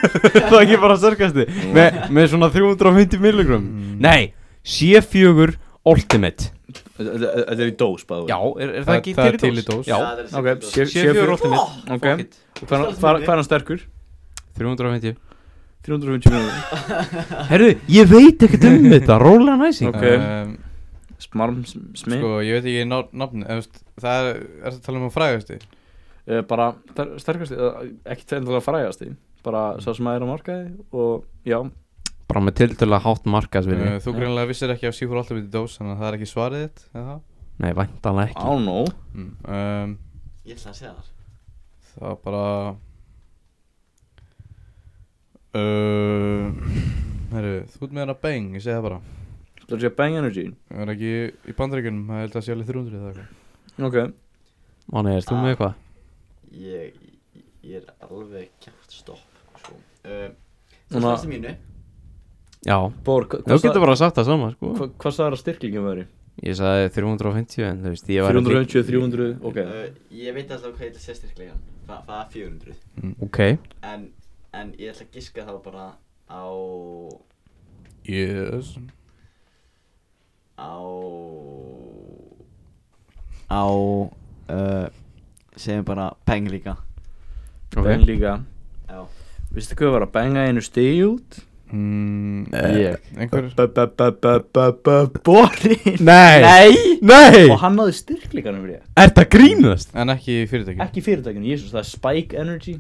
Speaker 2: Það er ekki bara sörgasti Me, Með svona 350 milligram Nei, C4 Ultimate
Speaker 3: Þetta þetta er í dós bæðu
Speaker 2: Já, er, er það
Speaker 1: Það-
Speaker 2: ekki
Speaker 1: það er
Speaker 2: til í
Speaker 1: til í
Speaker 2: dós?
Speaker 1: dós.
Speaker 2: Já,
Speaker 4: Það er
Speaker 3: ok,
Speaker 4: sex
Speaker 3: sé-
Speaker 4: dós.
Speaker 3: sé fjögur
Speaker 2: Sjö-
Speaker 3: óttum mitt
Speaker 2: Fuck
Speaker 3: Ok,
Speaker 2: it.
Speaker 3: Og hvað er- hvað er hvað er hann sterkur?
Speaker 2: 350
Speaker 3: 350 miljonar
Speaker 2: Herðu, ég veit ekkert um þetta, róla næsing
Speaker 3: Ok.
Speaker 1: um,
Speaker 3: Smarm smið
Speaker 1: Sko, ég veit ekki ná- nafn eða, þú veist, Það er, er það að tala um að frægast
Speaker 3: Eh, bara ster- sterkasti, eh, ekki tæmlega frægasti bara sá sem að er á markaði og já,
Speaker 2: Bara með tiltölu að hátt markaðsvinni
Speaker 1: Ehm, Þú greinlega vissir ekki að sífur alltaf myndi dós Þannig að það er ekki svarið þitt eða það?
Speaker 2: Nei, væntanlega
Speaker 3: I
Speaker 2: ekki
Speaker 3: don't know
Speaker 1: Mm, um,
Speaker 4: Ég ætla að segja það
Speaker 1: Það var bara uh, Herru, þú ert með hana bang, ég segi það bara
Speaker 3: Það sé Bang Energy
Speaker 1: Það er ekki í bandaríkjunum, það held að sé alveg 300 eða eitthvað
Speaker 3: Ok,
Speaker 2: Máni, er þú með eitthvað?
Speaker 4: Ég, ég er alveg kjátt stopp sko. uh, Það
Speaker 3: Núna-
Speaker 4: slast í mínu
Speaker 2: Já,
Speaker 3: Bór, hva-
Speaker 2: þú
Speaker 3: hvað
Speaker 2: getur bara sagt það sama, sko
Speaker 3: hva- hvað sagði það styrklingin veri?
Speaker 2: Ég sagði 350, en þú veist, ég var
Speaker 3: 350, 300, ok
Speaker 4: uh, Ég veit alltaf hvað ég ætla að segja styrklegan Þa, Það er 400
Speaker 2: Ok,
Speaker 4: en, en ég ætla að giska þá bara á
Speaker 1: Yes
Speaker 4: Á Á uh, Segjum bara peng líka
Speaker 3: Bang
Speaker 2: ok
Speaker 3: líka
Speaker 4: Já
Speaker 3: Vistu hvað var að banga einu stegi út?
Speaker 1: mm,
Speaker 2: Eh.
Speaker 3: Ég
Speaker 1: Einhver
Speaker 3: Bórin
Speaker 2: Nei,
Speaker 3: Nei
Speaker 2: nei,
Speaker 3: Og hann náði styrklinganum fyrir
Speaker 2: er það grínast?
Speaker 1: En ekki í fyrirtæki
Speaker 3: Ekki fyrirtækinu, jésus, það er Spike Energy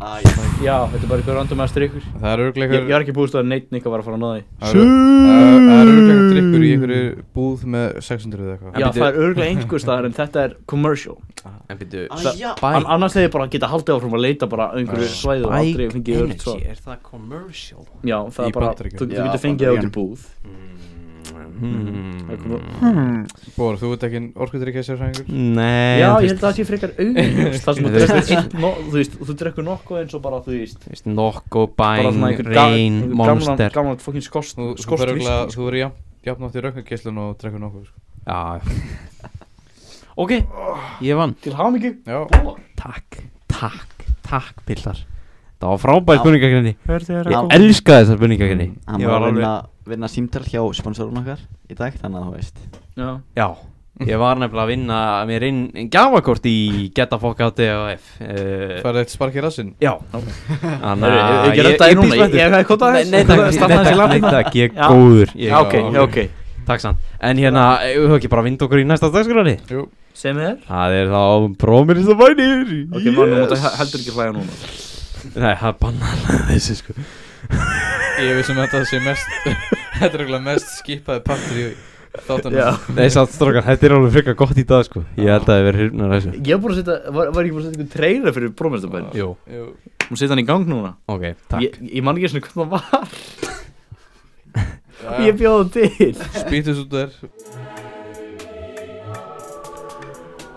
Speaker 4: Æ, ég fæ ekki
Speaker 3: Já, þetta er bara eitthvað random að strykkur
Speaker 1: Það er
Speaker 3: Ég,
Speaker 1: örglega
Speaker 3: ég er ekki búist að neitt nikka var að fara að ná því
Speaker 1: Það er örglega drikkur í einhverju búð með 600 eða eitthvað
Speaker 3: Já,
Speaker 2: bíddu.
Speaker 3: það er örgulega einhver staðar en þetta er commercial
Speaker 2: En byrju,
Speaker 4: Æja
Speaker 3: An annars hefði ég bara geta haldið áfram að leita bara að einhverju
Speaker 1: Já.
Speaker 3: svæðu og aldrei fengið öll svo
Speaker 2: er það commercial?
Speaker 3: Já, það
Speaker 1: Í
Speaker 3: er bara, þú
Speaker 1: Bandaríkjunum.
Speaker 3: þú
Speaker 4: Já,
Speaker 3: getur fengið það út í
Speaker 4: Bandaríkjunum.
Speaker 3: búð Það er
Speaker 2: Hmm.
Speaker 3: komið-
Speaker 1: Bór, þú ert ekki orkudrykja sérfræðingur
Speaker 2: Nei,
Speaker 3: Já,
Speaker 2: en þú
Speaker 3: ég
Speaker 2: veist-
Speaker 3: held að það sé frekar auðvitað Það sem þú
Speaker 2: Þú veist-
Speaker 3: drekkur einn no- þú veist, þú drekkur nokkuð eins og bara, þú veist
Speaker 2: Þú veist, Nokko,
Speaker 3: Bara
Speaker 2: Bæn,
Speaker 3: svona einhver ga-
Speaker 2: Rain,
Speaker 3: einhver
Speaker 2: Monster
Speaker 3: Gamlan, gamlan fokkin skost
Speaker 1: Þú þú
Speaker 3: skost
Speaker 1: verður örglega,
Speaker 3: viski, sko.
Speaker 1: þú verður jafn Jafnátt í raugnarkesslun og drekkur nokkuð sko.
Speaker 2: Já Ok, ég vann
Speaker 3: Til hamingju
Speaker 1: Já,
Speaker 2: Takk, takk, takk pillar Það var frábær spurningakrenni
Speaker 4: að
Speaker 2: Ég
Speaker 4: koma.
Speaker 2: elska þessar spurningakrenni
Speaker 4: Hann
Speaker 2: Ég Mm. var
Speaker 4: var að vinna,
Speaker 2: alveg
Speaker 4: vinna símtar hjá sponsorun okkar í dag Þannig að þú veist
Speaker 3: Já,
Speaker 2: Já, ég var nefnilega að vinna mér inn gjafakort í Geta Fokk á DAF uh,
Speaker 1: færði eitt spark í rassinn
Speaker 2: Já Þannig að
Speaker 3: Ég gerði þetta í núna Ég hef kontað
Speaker 2: Nei,
Speaker 3: þess
Speaker 2: nei, takk, nei, takk, nei, takk, ég er
Speaker 3: Já.
Speaker 2: góður Ég
Speaker 3: Já,
Speaker 2: er
Speaker 3: ok,
Speaker 2: góður.
Speaker 3: já, ok
Speaker 2: Takk sann En hérna, eigum við ekki bara að vinda okkur í næsta dagskrani
Speaker 1: Jú,
Speaker 3: Sem er
Speaker 2: Það er þá brómirist og vænir
Speaker 3: Ok, maður nú mútu heldur ekki hlæja núna
Speaker 2: Nei, það er bannan þessu sko
Speaker 1: ég vissum að þetta sé mest Þetta er örglega mest skipaði partur í þáttanum
Speaker 3: Já
Speaker 2: Nei, satt strókar, þetta er alveg frekar gott í dag sko Ég held að það verið hrifnar þessu
Speaker 3: Ég var búin að setja, var, var ég búin að setja einhvern trailer fyrir brómestabæn
Speaker 2: Jú,
Speaker 1: Jú.
Speaker 3: Hún setja hann í gang núna
Speaker 2: ok, takk
Speaker 3: Ég, ég man ekki svona hvað það var
Speaker 1: Já,
Speaker 3: Ég bjóð það til
Speaker 1: Spýtus út þér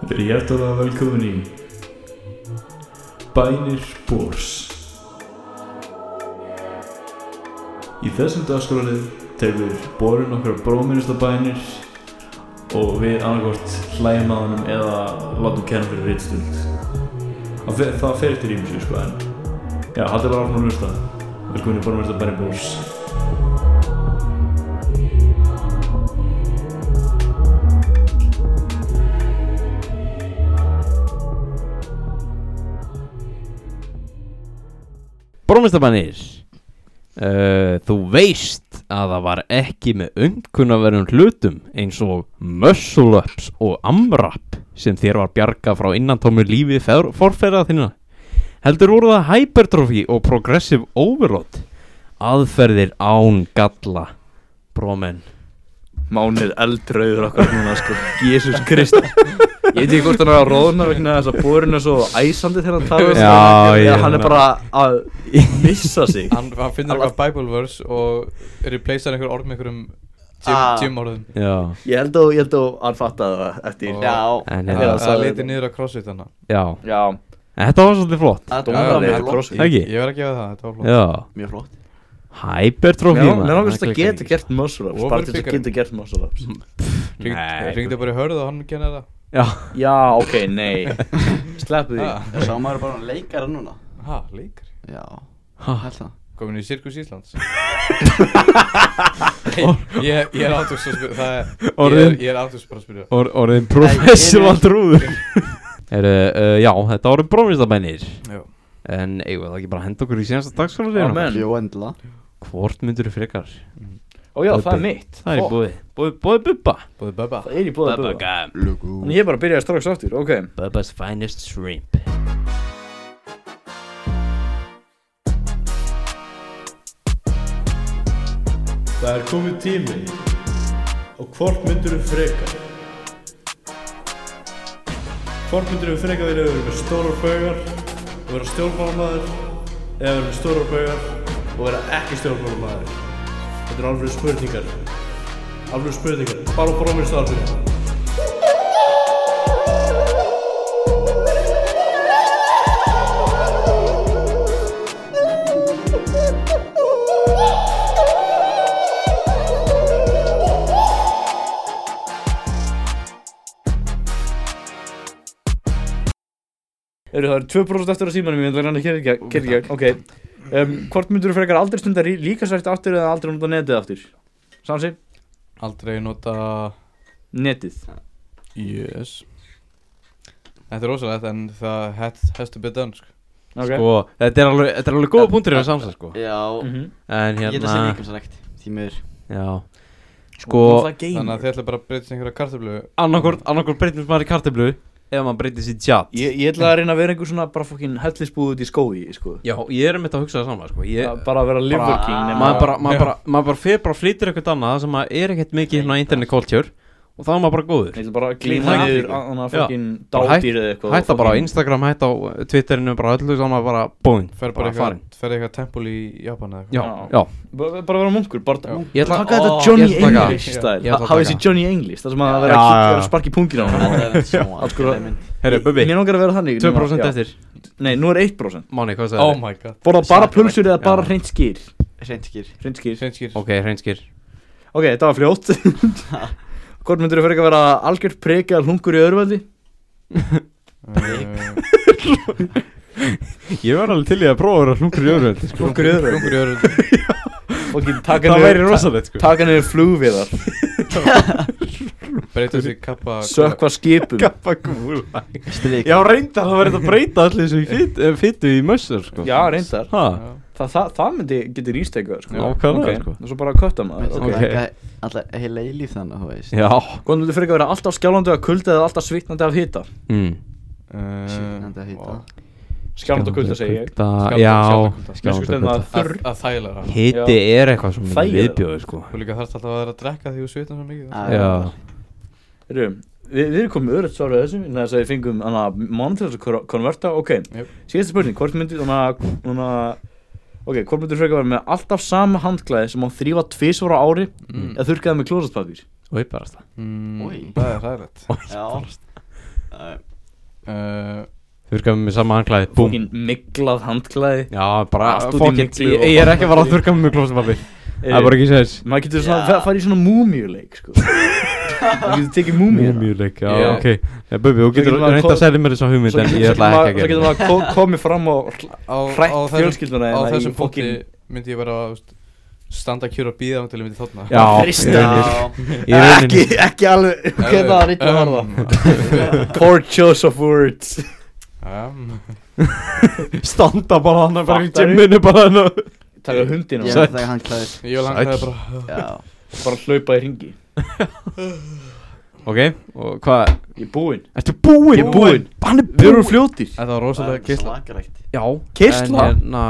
Speaker 5: Þið er hjertalega velkomin í Bænir Bórs Í þessum dagskrálið tekur Bórin okkar bróminnista bænir og við annarkort hlægjum að honum eða látum kenna fyrir rittstund Það fer- það fer eftir ímsu sko en já, haldið bara áfram að hlusta Velkomin í bórinista bænir Bórs
Speaker 2: Brómistabanir uh, Þú veist að það var ekki með umkunnaverðum hlutum eins og muscle-ups og amrap sem þér var bjarga frá innantómu lífi feðr- forfeðra þína Heldur voru það hypertrophy og progressive overload aðferðir án galla brómen
Speaker 3: Mánir eldrauður okkar núna sko Jésús Krist Ég veit ekki hvort hann er að róðna vegna þess að bórin er svo æsandi þegar hann tala við
Speaker 2: Já,
Speaker 3: sig.
Speaker 2: ég-
Speaker 3: Eða Hann er bara að missa sig
Speaker 1: Hann, hann finnir eitthvað Bible verse og replacear einhver orð með einhverjum gym,
Speaker 4: Ah.
Speaker 1: gym orðum
Speaker 2: Já,
Speaker 3: Ég held að, ég held að hann fattaði það eftir
Speaker 1: Og-
Speaker 4: Já
Speaker 2: en
Speaker 1: Það
Speaker 2: hérna,
Speaker 3: Já,
Speaker 1: það
Speaker 3: sagði
Speaker 1: liti
Speaker 3: þetta.
Speaker 1: niður að crossfit hana
Speaker 2: já
Speaker 3: Já,
Speaker 2: En Þetta var svolítið flott
Speaker 4: Þetta
Speaker 1: Já,
Speaker 4: var
Speaker 1: já,
Speaker 4: mjög
Speaker 1: já.
Speaker 4: flott
Speaker 2: Ekki?
Speaker 1: Ég verð að gefa það, þetta var flott
Speaker 2: Já
Speaker 4: Mjög flott
Speaker 2: Hypertrophy
Speaker 3: mér
Speaker 2: maður,
Speaker 3: langar
Speaker 2: það
Speaker 3: að
Speaker 2: klikkar
Speaker 3: geta
Speaker 2: ekki.
Speaker 3: gert muscle ups Bara til þess að
Speaker 1: Overthinker.
Speaker 3: geta gert muscle ups
Speaker 2: Nei.
Speaker 1: Ringdi bara í hörðu og hann genið það
Speaker 2: Já,
Speaker 3: Já, ok, nei Sleppu því
Speaker 1: Ah,
Speaker 4: Sá maður bara leikara núna
Speaker 1: Ha, leikari
Speaker 4: Já
Speaker 2: Ha.
Speaker 4: Hælt það
Speaker 1: Komin í Sirkus Íslands Nei, ég, ég er áttúrs að spyrja Það er, ég
Speaker 2: Orðin.
Speaker 1: er, ég er áttúrs bara að spyrja
Speaker 2: Or, orðin professional trúður Heru, uh, Já, þetta voru brómiðstabænir
Speaker 1: Já.
Speaker 2: En eigum við það ekki bara að henda okkur í senasta dagskóla
Speaker 3: Amen.
Speaker 4: Jó endla
Speaker 2: Hvort myndur þú frekar?
Speaker 3: Ó já, það
Speaker 2: Bubbi.
Speaker 3: er mitt
Speaker 2: Það er í
Speaker 3: Ó,
Speaker 2: búið Búið, búið bubba
Speaker 1: Búið Bubba
Speaker 3: Það er í búið að búið
Speaker 2: gum
Speaker 3: Þannig ég bara byrjaði strax aftur, ok
Speaker 2: Bubba's finest shrimp
Speaker 5: Það er komið tími og hvort myndur við freka? Hvort myndur við freka vilja vera með stórar baugar og vera stjórnmálamaður eða vera með stórar baugar og vera ekki stjórnmálamaður? Þetta eru alveg spurningar. Alveg spurningar. Bara brómið starfinu.
Speaker 3: Eru það eru 2% eftir að símanum, ég ætla að reyna að kyrja í gegn- kyrja í gegn, ok um, Hvort myndur þú frekar aldrei stunda rí- líkamsrækt aftur eða aldrei nota netið aftur? Samsi?
Speaker 1: Aldrei nota
Speaker 3: Netið
Speaker 1: Yes Þetta er rosalegt en það hætt hættu byrja dansk
Speaker 3: Ok
Speaker 2: Sko, þetta er alveg, þetta er alveg góða punktur en samsæð sko
Speaker 4: Já
Speaker 3: Mhm.
Speaker 2: En
Speaker 4: Ég ætla að segja
Speaker 2: hérna,
Speaker 4: líkamsrækt Því miður
Speaker 2: já Sko,
Speaker 3: Og náttúrulega gamer.
Speaker 1: Þannig að þið ætla bara að byrja einhverja kartöflu
Speaker 2: annarkvort, annarkvort breytist maður í kartablu Ef maður breytist í tjátt
Speaker 3: Ég, ég ætla að reyna að vera einhver svona bara fokkin hellisbúð út í skói, sko
Speaker 2: Já, ég er um þetta að hugsa það sama sko ég,
Speaker 3: Bara að vera liver king nema
Speaker 2: maður bara,
Speaker 1: Já.
Speaker 2: maður bara, maður bara fer bara flytir eitthvað annað sem að er ekkert mikið hérna á internet culture og þá er maður bara góður
Speaker 3: Ég ætla bara að
Speaker 2: Clean
Speaker 3: klína
Speaker 2: up.
Speaker 3: niður að- að
Speaker 2: Já.
Speaker 3: fokkin
Speaker 2: Bara hætt-
Speaker 3: dádýr eða eitthvað
Speaker 2: hætta bara á
Speaker 3: fucking-
Speaker 2: Instagram, hætta á uh, Twitterinu bara öllu saman bara búinn
Speaker 1: Fer bara eitthvað, fer eitthvað tempul í Japan eða eitthvað
Speaker 2: já,
Speaker 3: Já.
Speaker 2: já,
Speaker 3: Bara bara vera munkur, bara
Speaker 1: Já.
Speaker 2: ég ætla
Speaker 3: Taka þetta
Speaker 2: Ó,
Speaker 3: Johnny
Speaker 2: ég ætla að taka-
Speaker 3: English stæl
Speaker 2: Ég ætla að
Speaker 3: Hafið
Speaker 2: taka.
Speaker 3: þessi Johnny English, það sem að
Speaker 2: Já,
Speaker 3: vera
Speaker 2: já, já.
Speaker 3: að sparki pungin á hann
Speaker 4: Það er svona
Speaker 3: Alls konar.
Speaker 2: herru, Bubi,
Speaker 3: Mér langar að vera þannig
Speaker 2: 2%
Speaker 3: nema- já.
Speaker 2: eftir
Speaker 3: Nei, nú er 1%
Speaker 2: Máni, hvað
Speaker 1: Oh
Speaker 2: sagði
Speaker 1: my god
Speaker 3: Borða bara
Speaker 4: Snakka
Speaker 3: pulsur eða bara
Speaker 2: Já.
Speaker 3: hreint skýr
Speaker 4: Hreinskýr
Speaker 3: Hreint skýr
Speaker 1: Sveinskýr
Speaker 2: Ok, hreinskir
Speaker 3: Ok, þetta var fljótt Hvort myndir þú fyrir að vera algjört preka hlungur í öðruveldi?
Speaker 1: Sveinskýr
Speaker 2: Ég var alveg til í að prófa að vera hlungur í öðru
Speaker 3: Hlungur í öðruveldi
Speaker 1: Sveinskýr
Speaker 3: Og taka
Speaker 2: Það væri
Speaker 3: niður-
Speaker 2: rosalegt sko
Speaker 3: taka niður flugviðar
Speaker 1: Breyta þessi kappa
Speaker 3: Sökva skipum
Speaker 2: Kappa gúla
Speaker 4: Strik
Speaker 2: Já, reyndar það verið að breyta allir þessu fyttu í mössur sko
Speaker 3: Já, reyndar
Speaker 2: Ha,
Speaker 1: Já.
Speaker 3: Þa, það, það myndi getur ístekað sko.
Speaker 2: Já, ákaflega,
Speaker 3: Ok,
Speaker 2: sko.
Speaker 3: Og svo bara kötta maður
Speaker 2: Ok.
Speaker 4: Ok Alltaf heila í líf þannig, þú veist
Speaker 2: já
Speaker 3: Hvort myndir þú fyrir að vera alltaf skjálandi að kulda eða alltaf svitnandi af hita?
Speaker 2: mm.
Speaker 1: Eh,
Speaker 4: Sýnandi að hýta
Speaker 3: Skjálandi að kulda segi ég
Speaker 2: Kulda,
Speaker 1: Skjálfandi- skjálfandi
Speaker 2: Já,
Speaker 1: kulda.
Speaker 3: Mér
Speaker 2: skjálfandi
Speaker 3: sko stemma
Speaker 2: kulda.
Speaker 3: að þurr
Speaker 1: Að þægilega
Speaker 2: Hitti er eitthvað sem mikið
Speaker 3: Þægilega.
Speaker 2: viðbjóður sko
Speaker 1: Og líka þarfst alltaf að vera að drekka því þú svitnar svo mikið
Speaker 4: Ah.
Speaker 2: Já,
Speaker 3: Heyrðu, Við, við erum komið öðruð svarað þessu en þess að við fengum hana mánu til þess að kor- konverta ok,
Speaker 1: Jöp.
Speaker 3: síðasta spurning hvort myndir hana, hana, ok, hvort myndir frekar vera með alltaf sama handklæði sem á þrýfa tvísvara ári
Speaker 1: Mm.
Speaker 3: eða þurrkaði með klósaspapir
Speaker 2: og ég bara það
Speaker 1: Mm,
Speaker 4: Oj.
Speaker 1: Það er ræðilegt
Speaker 4: Já Uh,
Speaker 1: uh,
Speaker 2: Þurrka mig með sama handklæði, búm
Speaker 3: fokkin miglað handklæði
Speaker 2: Já, bara
Speaker 3: Allt út í
Speaker 2: fokkitt
Speaker 3: myglu
Speaker 2: Ég
Speaker 3: og-
Speaker 2: ég er ekki að fara að þurrka mig með klósafabbi Það er bara ekki sérs
Speaker 3: Eh, maður getur svona,
Speaker 4: Já.
Speaker 3: yeah. farið í svona múmíuleik sko. maður getur tekið múmíuna
Speaker 2: Mjög já,
Speaker 1: Já.
Speaker 2: ok Já, Bubi, þú getur
Speaker 3: getur maður
Speaker 2: reynda
Speaker 3: kom-
Speaker 2: að selja mér þessa hugmynd
Speaker 3: svo
Speaker 2: en
Speaker 3: getur
Speaker 2: ég ætla
Speaker 3: maður-
Speaker 2: ekki að
Speaker 3: svo getur
Speaker 2: gera
Speaker 3: maður ko- komið fram og
Speaker 1: á,
Speaker 3: hrætt
Speaker 1: á þessum-
Speaker 3: fjölskylduna
Speaker 1: Á
Speaker 3: hérna í
Speaker 1: þessum punkti
Speaker 3: fokkin-
Speaker 1: myndi ég vera að veist, standa að kjúra bíða til ég myndi þóttna
Speaker 2: Já,
Speaker 3: Þrista.
Speaker 2: í rauninni- í rauninni
Speaker 3: ekki alveg
Speaker 1: Eh,
Speaker 3: ok, það var
Speaker 1: um,
Speaker 3: eitthvað að harða poor choice of words
Speaker 2: Standa bara hann bara í
Speaker 3: Fattari.
Speaker 2: gymminu bara hann
Speaker 3: taka hundin
Speaker 4: Ég
Speaker 3: og
Speaker 4: er það hann klæðir
Speaker 1: Ég vil hanga það bara
Speaker 4: Já
Speaker 3: bara hlaupa í ringi
Speaker 2: Ok, og hvað
Speaker 3: ég er búinn
Speaker 2: Ertu búinn?
Speaker 3: Ég er búinn.
Speaker 2: Hann er
Speaker 3: við erum
Speaker 2: búinn
Speaker 3: fljótir
Speaker 1: Þetta var
Speaker 4: Það
Speaker 1: rosalega
Speaker 4: er
Speaker 1: geisla
Speaker 4: slakarækt
Speaker 2: Já
Speaker 3: Keyrsla?
Speaker 2: en hérna,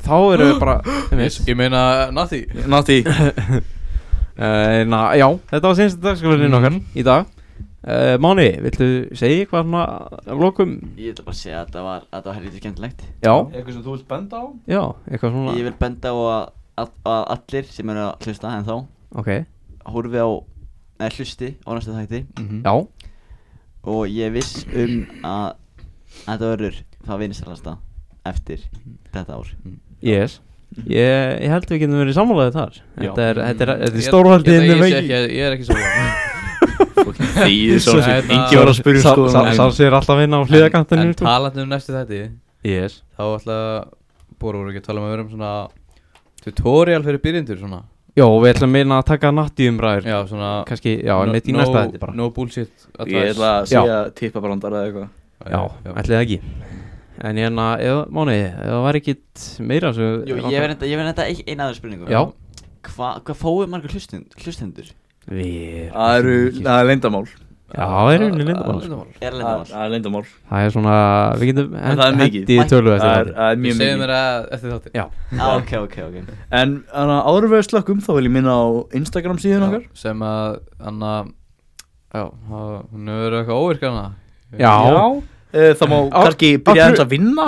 Speaker 2: Þá eru við bara einmitt.
Speaker 1: Ég meina, Nati
Speaker 3: Nati
Speaker 2: Eh, na, já, þetta var senst dagskólanin okkar í dag uh, Máni, viltu segja eitthvað svona af lokum?
Speaker 4: Ég ætla bara að segja að þetta var, að þetta var helvítið skemmtilegt
Speaker 2: Já,
Speaker 3: eitthvað sem þú vilt benda á
Speaker 2: já, eitthvað svona
Speaker 4: Ég vil benda á að, að, að allir sem eru að hlusta en þá
Speaker 2: Ok,
Speaker 4: Húrfi á, eða hlusti á næstu þætti
Speaker 2: já,
Speaker 4: Og ég viss um að, að þetta verður það vinsælasta eftir þetta ár
Speaker 2: yes Ég, ég held við getum verið sammálaðið þar
Speaker 3: Já.
Speaker 2: Þetta er, þetta er, þetta er
Speaker 1: Ég-
Speaker 2: stórhaldið
Speaker 1: Ég
Speaker 2: inn
Speaker 1: ég
Speaker 2: um
Speaker 1: sé ekki, ég er ekki svo
Speaker 3: því
Speaker 1: svo sem- Engi
Speaker 3: var að spyrja sko
Speaker 2: Sáls er alltaf inn á
Speaker 1: En
Speaker 2: hliðakantinu sko.
Speaker 1: talandi um næstu þætti
Speaker 2: Yes
Speaker 1: Þá ætla Bóra voru ekki að tala um að vera um svona Tutorial fyrir byrjendur svona
Speaker 2: Já, og við ætlum meina að taka natt í umræður
Speaker 1: Já, svona
Speaker 2: Kanski, já,
Speaker 1: no-
Speaker 2: mitt í
Speaker 1: no-
Speaker 2: næsta þetta bara
Speaker 1: No bullshit
Speaker 3: Ég
Speaker 1: advice.
Speaker 3: ætla að
Speaker 2: Já.
Speaker 3: segja tippabrandar eða eitthvað
Speaker 2: Já, ætlið það ekki En ég hérna, eða, Máni, eða var ekkit meira svo
Speaker 4: Jú, ég verði þetta, ég verði þetta ein, eina aðra spurningu
Speaker 2: Já,
Speaker 4: Hvað hva fáið margar hlustend, hlustendur?
Speaker 2: við
Speaker 3: Það eru, það er leyndamál
Speaker 2: Já, það er rauninni lindabál
Speaker 4: Er
Speaker 3: Það
Speaker 4: lendamál?
Speaker 3: það er leyndamál
Speaker 2: Það er svona, við getum
Speaker 3: En það er mikið.
Speaker 2: í tölu eftir
Speaker 3: Það er-
Speaker 2: þetta
Speaker 3: það er
Speaker 1: Ég
Speaker 3: mjög
Speaker 1: segi
Speaker 3: mikið
Speaker 1: mér það eftir þáttir
Speaker 2: Já,
Speaker 4: Já, Ah, ok, ok, ok
Speaker 3: En þannig að áður en við slökkum þá vil ég minna á Instagram síðun okkar
Speaker 1: Sem að, anna Já, það- hún hefur verið eitthvað óvirk hana
Speaker 2: já
Speaker 3: Eh, Það má
Speaker 2: Á- á
Speaker 3: kannski
Speaker 2: hverju-
Speaker 3: byrja aðeins að vinna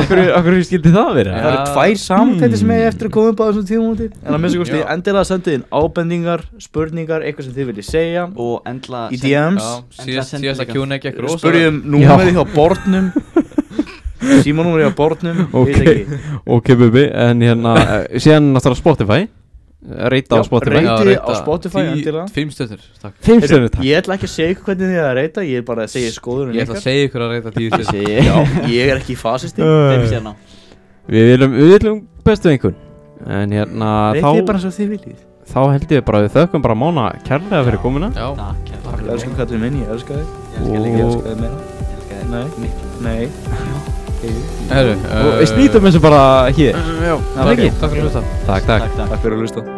Speaker 2: Akkur, akkur skildi það vera?
Speaker 3: Það eru
Speaker 1: Já.
Speaker 3: tvær samtætti sem
Speaker 2: Hmm.
Speaker 3: ég eftir að koma upp á þessum tíðum úti En að minnst kosti
Speaker 1: Já.
Speaker 3: endilega sendið inn ábendingar, spurningar, eitthvað sem þið viljið segja
Speaker 4: Og endla
Speaker 3: Í DMs
Speaker 1: Já, síðast-
Speaker 4: sendi
Speaker 1: síðasta
Speaker 4: líka.
Speaker 1: Q&A gekk rosa
Speaker 3: Spurjum númerið hjá bornum Símanúmerið hjá bornum
Speaker 2: Ok.
Speaker 3: Ég veit ekki.
Speaker 2: Ok, bubi, en hérna, eh, síðan náttúrulega Spotify Reita á
Speaker 3: Já,
Speaker 2: Spotify
Speaker 3: rate-
Speaker 1: Já,
Speaker 3: Reyti
Speaker 1: reyta.
Speaker 3: á Spotify
Speaker 1: Tí-
Speaker 3: endilega.
Speaker 1: Fimm stöður, takk
Speaker 2: Fimm
Speaker 3: Heyrðu,
Speaker 2: stjörnur, takk.
Speaker 3: Ég ætla ekki að segja ykkur hvernig þið er að reyta Ég er bara að segja skoðurinn
Speaker 1: Ég ætla að segja ykkur að reyta tíu stöður
Speaker 4: Segi ég
Speaker 3: Ég er ekki fasisti
Speaker 4: Þeim
Speaker 2: Uh,
Speaker 4: sérna
Speaker 2: Við viljum, við viljum bestu einhvern En hérna,
Speaker 3: Reytið bara
Speaker 2: þá,
Speaker 3: svo þið viljið
Speaker 2: þá held ég bara að við þökkum bara Mána kærlega fyrir komuna
Speaker 1: Já,
Speaker 4: Takk, ég
Speaker 1: takk
Speaker 3: Ég
Speaker 1: fyrir
Speaker 3: elsku Katrin minn, ég elska þig
Speaker 4: elska
Speaker 3: Ég
Speaker 4: líka
Speaker 2: Og-
Speaker 3: elska þig meira
Speaker 4: Ég elska þig
Speaker 3: Nei, nei Nei.
Speaker 1: Herru,
Speaker 2: Og
Speaker 1: eh,
Speaker 2: við snýtum þessu bara hér
Speaker 1: Já,
Speaker 2: var
Speaker 3: eh,
Speaker 1: takk
Speaker 2: ekki.
Speaker 1: takk fyrir að hlusta
Speaker 2: Takk, takk
Speaker 4: Takk, takk
Speaker 3: Takk fyrir að hlusta